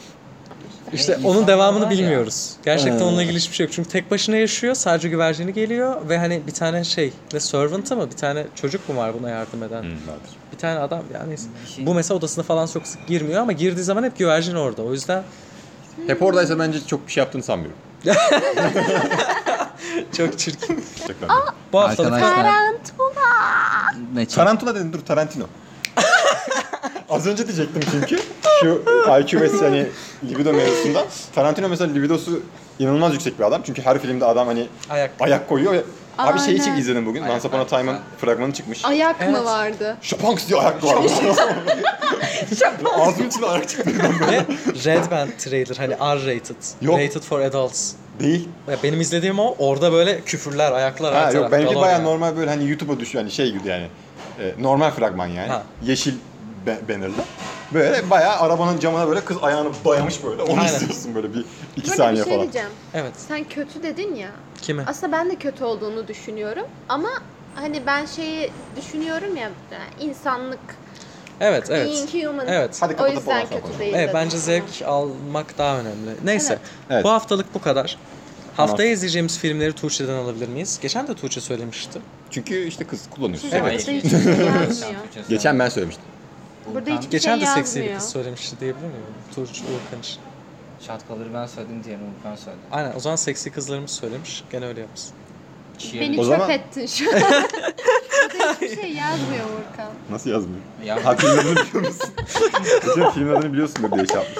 [SPEAKER 1] İşte
[SPEAKER 5] Hey,
[SPEAKER 1] onun
[SPEAKER 5] insan
[SPEAKER 1] devamını
[SPEAKER 5] var ya.
[SPEAKER 1] bilmiyoruz. Gerçekten
[SPEAKER 4] Ha.
[SPEAKER 1] onunla ilgili hiçbir şey yok. Çünkü tek başına yaşıyor. Sadece güvercini geliyor ve hani bir tane şey ne servant'ı mı bir tane çocuk mu var buna yardım eden?
[SPEAKER 4] Hmm, vardır.
[SPEAKER 1] Bir tane adam yani neyse.
[SPEAKER 5] Bir şey-
[SPEAKER 1] Bu mesela odasına falan çok sık girmiyor ama girdiği zaman hep güvercin orada. O yüzden
[SPEAKER 4] Hep oradaysa bence çok bir şey yaptığını sanmıyorum.
[SPEAKER 1] çok çirkin.
[SPEAKER 4] Gerçekten.
[SPEAKER 1] Bu haftalık
[SPEAKER 5] ne çek?
[SPEAKER 4] Tarantula dedim dur <laughs> Tarantino. Az önce diyecektim çünkü şu IQ ve hani libido mevzusunda Tarantino mesela libidosu inanılmaz yüksek bir adam. Çünkü her filmde adam hani
[SPEAKER 1] ayak.
[SPEAKER 4] ayak koyuyor ve abi şeyi
[SPEAKER 2] Aynen.
[SPEAKER 4] çek izledim bugün.
[SPEAKER 5] Ayak,
[SPEAKER 4] Once Upon a
[SPEAKER 5] ayak,
[SPEAKER 4] Time'ın
[SPEAKER 5] ayak.
[SPEAKER 4] fragmanı
[SPEAKER 2] <laughs>
[SPEAKER 4] çıkmış.
[SPEAKER 2] Ayak
[SPEAKER 1] Evet.
[SPEAKER 2] mı vardı?
[SPEAKER 4] Şapanks diyor ayak var. Ağzımın içinden ayak çıktı.
[SPEAKER 1] Ve Red Band trailer hani R-rated.
[SPEAKER 4] Yok.
[SPEAKER 1] Rated for adults.
[SPEAKER 4] Değil.
[SPEAKER 1] Ya benim izlediğim o orada böyle küfürler, ayaklar
[SPEAKER 4] Ha,
[SPEAKER 1] her taraf,
[SPEAKER 4] yok benimki
[SPEAKER 1] galon
[SPEAKER 4] baya
[SPEAKER 1] yani.
[SPEAKER 4] normal böyle hani YouTube'a düşüyor hani şey gibi yani. e, normal fragman yani.
[SPEAKER 1] Ha.
[SPEAKER 4] Yeşil be- bannerlı. Böyle bayağı arabanın camına böyle kız ayağını dayamış böyle. Onu
[SPEAKER 1] Aynen.
[SPEAKER 4] izliyorsun böyle bir iki
[SPEAKER 2] Böyle bir
[SPEAKER 4] saniye
[SPEAKER 2] şey
[SPEAKER 4] falan.
[SPEAKER 2] diyeceğim.
[SPEAKER 1] Evet.
[SPEAKER 2] Sen kötü dedin ya.
[SPEAKER 1] Kimi?
[SPEAKER 2] Aslında ben de kötü olduğunu düşünüyorum ama hani ben şeyi düşünüyorum ya yani insanlık
[SPEAKER 1] Evet, evet.
[SPEAKER 2] being human.
[SPEAKER 1] Evet.
[SPEAKER 4] Hadi
[SPEAKER 2] O
[SPEAKER 4] kapatıp
[SPEAKER 2] yüzden
[SPEAKER 4] ondan sonra
[SPEAKER 2] kötü
[SPEAKER 4] konuşalım.
[SPEAKER 2] değil.
[SPEAKER 1] Evet
[SPEAKER 2] dedim.
[SPEAKER 1] bence zevk almak daha önemli. Neyse.
[SPEAKER 4] Evet.
[SPEAKER 1] Bu haftalık bu kadar. Haftaya izleyeceğimiz filmleri Tuğçe'den alabilir miyiz? Geçen de Tuğçe söylemişti.
[SPEAKER 4] Çünkü işte kız kullanıyorsun.
[SPEAKER 2] Size
[SPEAKER 1] Evet.
[SPEAKER 2] burada hiçbir şey gelmiyor.
[SPEAKER 4] Geçen ben söylemiştim.
[SPEAKER 2] Burada
[SPEAKER 5] Volkan-
[SPEAKER 2] hiç-
[SPEAKER 1] Geçen de
[SPEAKER 2] şey
[SPEAKER 1] seksi bir
[SPEAKER 2] yazmıyor.
[SPEAKER 1] kız söylemişti diyebilir miyim? Turç Uğurkan için.
[SPEAKER 5] Şapkaları ben söyledim diğerini Volkan söyledi.
[SPEAKER 1] Aynen o zaman seksi kızlarımız söylemiş. Gene öyle yapmış.
[SPEAKER 5] Çiğeri-
[SPEAKER 2] Beni
[SPEAKER 4] O zaman-
[SPEAKER 2] çöp ettin şu
[SPEAKER 1] <laughs>
[SPEAKER 2] an. Burada hiçbir şey yazmıyor Urkan.
[SPEAKER 4] Nasıl yazmıyor?
[SPEAKER 5] Ya
[SPEAKER 4] Ha filmin adını biliyor musun? Hocam filmin adını biliyorsundur diye şey yapmış.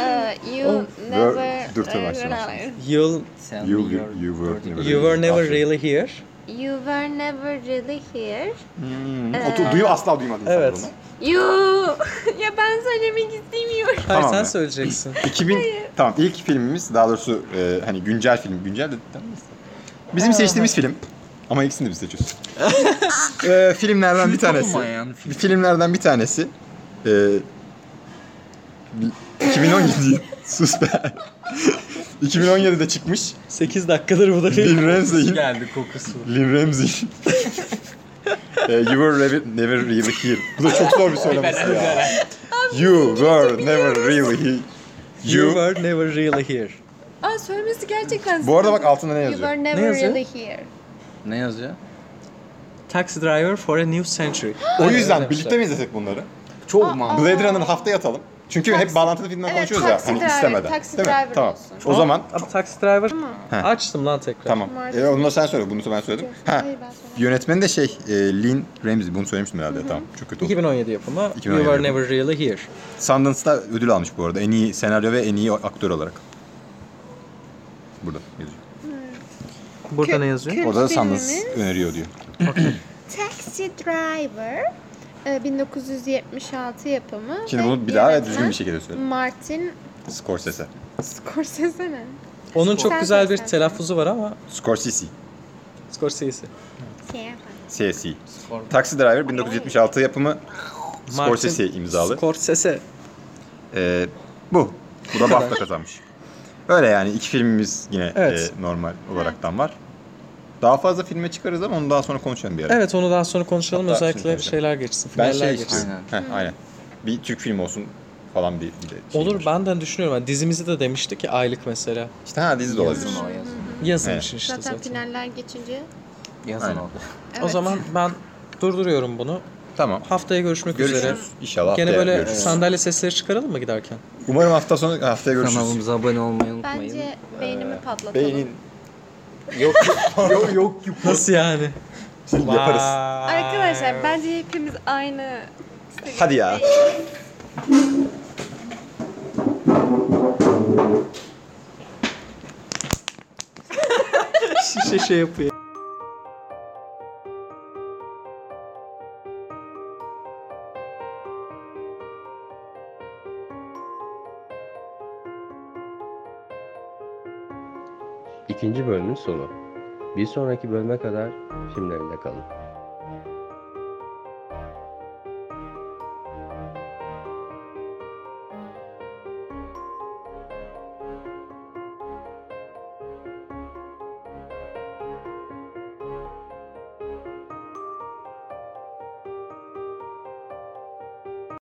[SPEAKER 2] Ee, you never...
[SPEAKER 4] Dur, dur, başlamasın.
[SPEAKER 1] You'll,
[SPEAKER 5] sen your-
[SPEAKER 4] You- you- you were never-
[SPEAKER 1] you were never really here.
[SPEAKER 2] You were never really here.
[SPEAKER 4] Hmm. Otur, duyu asla duymadım sen
[SPEAKER 1] Evet.
[SPEAKER 4] bunu.
[SPEAKER 2] You... <laughs> ya ben söylemek istemiyorum.
[SPEAKER 1] Hayır
[SPEAKER 4] Tamam
[SPEAKER 1] sen
[SPEAKER 4] ya.
[SPEAKER 1] söyleyeceksin.
[SPEAKER 4] 2000 tamam ilk filmimiz daha doğrusu e, hani güncel film güncel de tamam neyse. Bizim seçtiğimiz film ama ikisini de biz seçiyoruz. <laughs> E, filmlerden bir tanesi.
[SPEAKER 5] Olmayan film.
[SPEAKER 4] Filmlerden bir tanesi. E, 2017 <laughs> sus be. 2017'de çıkmış.
[SPEAKER 1] 8 dakikadır
[SPEAKER 4] <laughs>
[SPEAKER 1] bu da film.
[SPEAKER 4] Lin Ramsey'in
[SPEAKER 5] geldi kokusu.
[SPEAKER 4] Lin Ramsey'in e, You were never, never really here. Bu da çok zor bir söylemesi ya. You were never really here.
[SPEAKER 1] You
[SPEAKER 4] You
[SPEAKER 1] were never really here.
[SPEAKER 2] Aa söylemesi gerçekten...
[SPEAKER 4] Bu arada bak altında ne
[SPEAKER 2] You
[SPEAKER 4] yazıyor?
[SPEAKER 2] were never
[SPEAKER 1] yazıyor?
[SPEAKER 2] really here.
[SPEAKER 5] Ne yazıyor?
[SPEAKER 1] Taxi driver for a new century.
[SPEAKER 4] O
[SPEAKER 1] Öyle
[SPEAKER 4] yüzden
[SPEAKER 1] demişler.
[SPEAKER 4] birlikte mi izlesek bunları?
[SPEAKER 5] Çok mantıklı.
[SPEAKER 4] Blade Runner haftaya atalım. Çünkü hep bağlantılı filmden
[SPEAKER 2] Evet,
[SPEAKER 4] konuşuyoruz
[SPEAKER 2] Taxi
[SPEAKER 4] ya. Hani
[SPEAKER 2] Driver,
[SPEAKER 4] istemeden.
[SPEAKER 2] Taxi
[SPEAKER 4] Değil mi?
[SPEAKER 2] Driver
[SPEAKER 4] Tamam.
[SPEAKER 2] olsun.
[SPEAKER 4] O zaman
[SPEAKER 1] Ama taxi driver
[SPEAKER 4] Heh.
[SPEAKER 1] açtım lan tekrar.
[SPEAKER 4] tamam.
[SPEAKER 2] Cumartesi.
[SPEAKER 4] E, onu da sen söyle. Bunu da ben söyledim. Ha.
[SPEAKER 2] Hayır, ben söylemem.
[SPEAKER 4] Yönetmeni de şey, e, Lin Ramsey. Bunu söylemiştim herhalde. Tamam. Çok kötü oldu.
[SPEAKER 1] 2017 yapımı.
[SPEAKER 4] 2017
[SPEAKER 1] you were
[SPEAKER 4] yapımı.
[SPEAKER 1] never really here.
[SPEAKER 4] Sundance'da ödül almış bu arada. En iyi senaryo ve en iyi aktör olarak. Burada yazıyor.
[SPEAKER 1] Burada
[SPEAKER 2] Kö-
[SPEAKER 1] ne yazıyor?
[SPEAKER 2] kö- Kült
[SPEAKER 4] Orada da
[SPEAKER 2] filmimiz.
[SPEAKER 4] Sundance öneriyor diyor.
[SPEAKER 2] Taxi Driver e, 1976 yapımı.
[SPEAKER 4] Şimdi
[SPEAKER 2] ve
[SPEAKER 4] bunu bir daha
[SPEAKER 2] yönetmen
[SPEAKER 4] düzgün bir şekilde söyle.
[SPEAKER 2] Martin
[SPEAKER 4] Scorsese.
[SPEAKER 2] Scorsese mi?
[SPEAKER 1] Onun çok
[SPEAKER 2] Sen
[SPEAKER 1] güzel
[SPEAKER 2] söyle,
[SPEAKER 1] bir
[SPEAKER 2] sen
[SPEAKER 1] telaffuzu var ama
[SPEAKER 4] Scorsese.
[SPEAKER 1] Scorsese.
[SPEAKER 2] Şey
[SPEAKER 4] CSE.
[SPEAKER 5] Skor-
[SPEAKER 4] Taxi Driver 1976 yapımı Scorsese
[SPEAKER 1] Martin
[SPEAKER 4] imzalı.
[SPEAKER 1] Scorsese.
[SPEAKER 4] Ee, bu.
[SPEAKER 1] <laughs>
[SPEAKER 4] Bu da BAFTA kazanmış. Öyle yani iki filmimiz yine
[SPEAKER 1] Evet.
[SPEAKER 4] e, normal olaraktan var. Daha fazla filme çıkarız ama onu daha sonra konuşalım bir ara.
[SPEAKER 1] Evet onu daha sonra konuşalım
[SPEAKER 4] Hatta
[SPEAKER 1] özellikle
[SPEAKER 4] şimdi
[SPEAKER 1] şeyler geçsin.
[SPEAKER 4] Ben
[SPEAKER 1] finaller
[SPEAKER 4] şey
[SPEAKER 1] geçsin.
[SPEAKER 4] istiyorum. Heh, aynen. Bir Türk filmi olsun falan bir, bir de şey
[SPEAKER 1] Olur
[SPEAKER 4] var.
[SPEAKER 1] benden düşünüyorum. Yani dizimizi de demişti ki aylık mesela.
[SPEAKER 4] İşte ha dizi de olabilir.
[SPEAKER 5] Yazın o yazın.
[SPEAKER 1] Yazın
[SPEAKER 4] Evet.
[SPEAKER 1] için işte
[SPEAKER 2] Zaten
[SPEAKER 1] zaten.
[SPEAKER 2] finaller geçince.
[SPEAKER 5] Yazın
[SPEAKER 4] Aynen.
[SPEAKER 5] o.
[SPEAKER 1] O
[SPEAKER 2] Evet.
[SPEAKER 1] zaman ben durduruyorum bunu.
[SPEAKER 4] Tamam.
[SPEAKER 1] Haftaya görüşmek üzere.
[SPEAKER 4] Görüşürüz. İnşallah
[SPEAKER 1] Gene
[SPEAKER 4] haftaya
[SPEAKER 1] böyle
[SPEAKER 4] görüşürüz.
[SPEAKER 1] sandalye sesleri çıkaralım mı giderken?
[SPEAKER 4] Umarım hafta sonu haftaya görüşürüz.
[SPEAKER 5] Kanalımıza abone olmayı unutmayın.
[SPEAKER 2] Bence beynimi patlatalım.
[SPEAKER 4] Beynin. Yok yok yok yok.
[SPEAKER 1] Nasıl yani?
[SPEAKER 4] <laughs> Yaparız.
[SPEAKER 1] Ah, é
[SPEAKER 2] Arkadaşlar bence hepimiz aynı.
[SPEAKER 4] Hadi ya.
[SPEAKER 1] Şişe şey yapıyor.
[SPEAKER 6] İkinci bölümün sonu. Bir sonraki bölüme kadar filmlerinde kalın.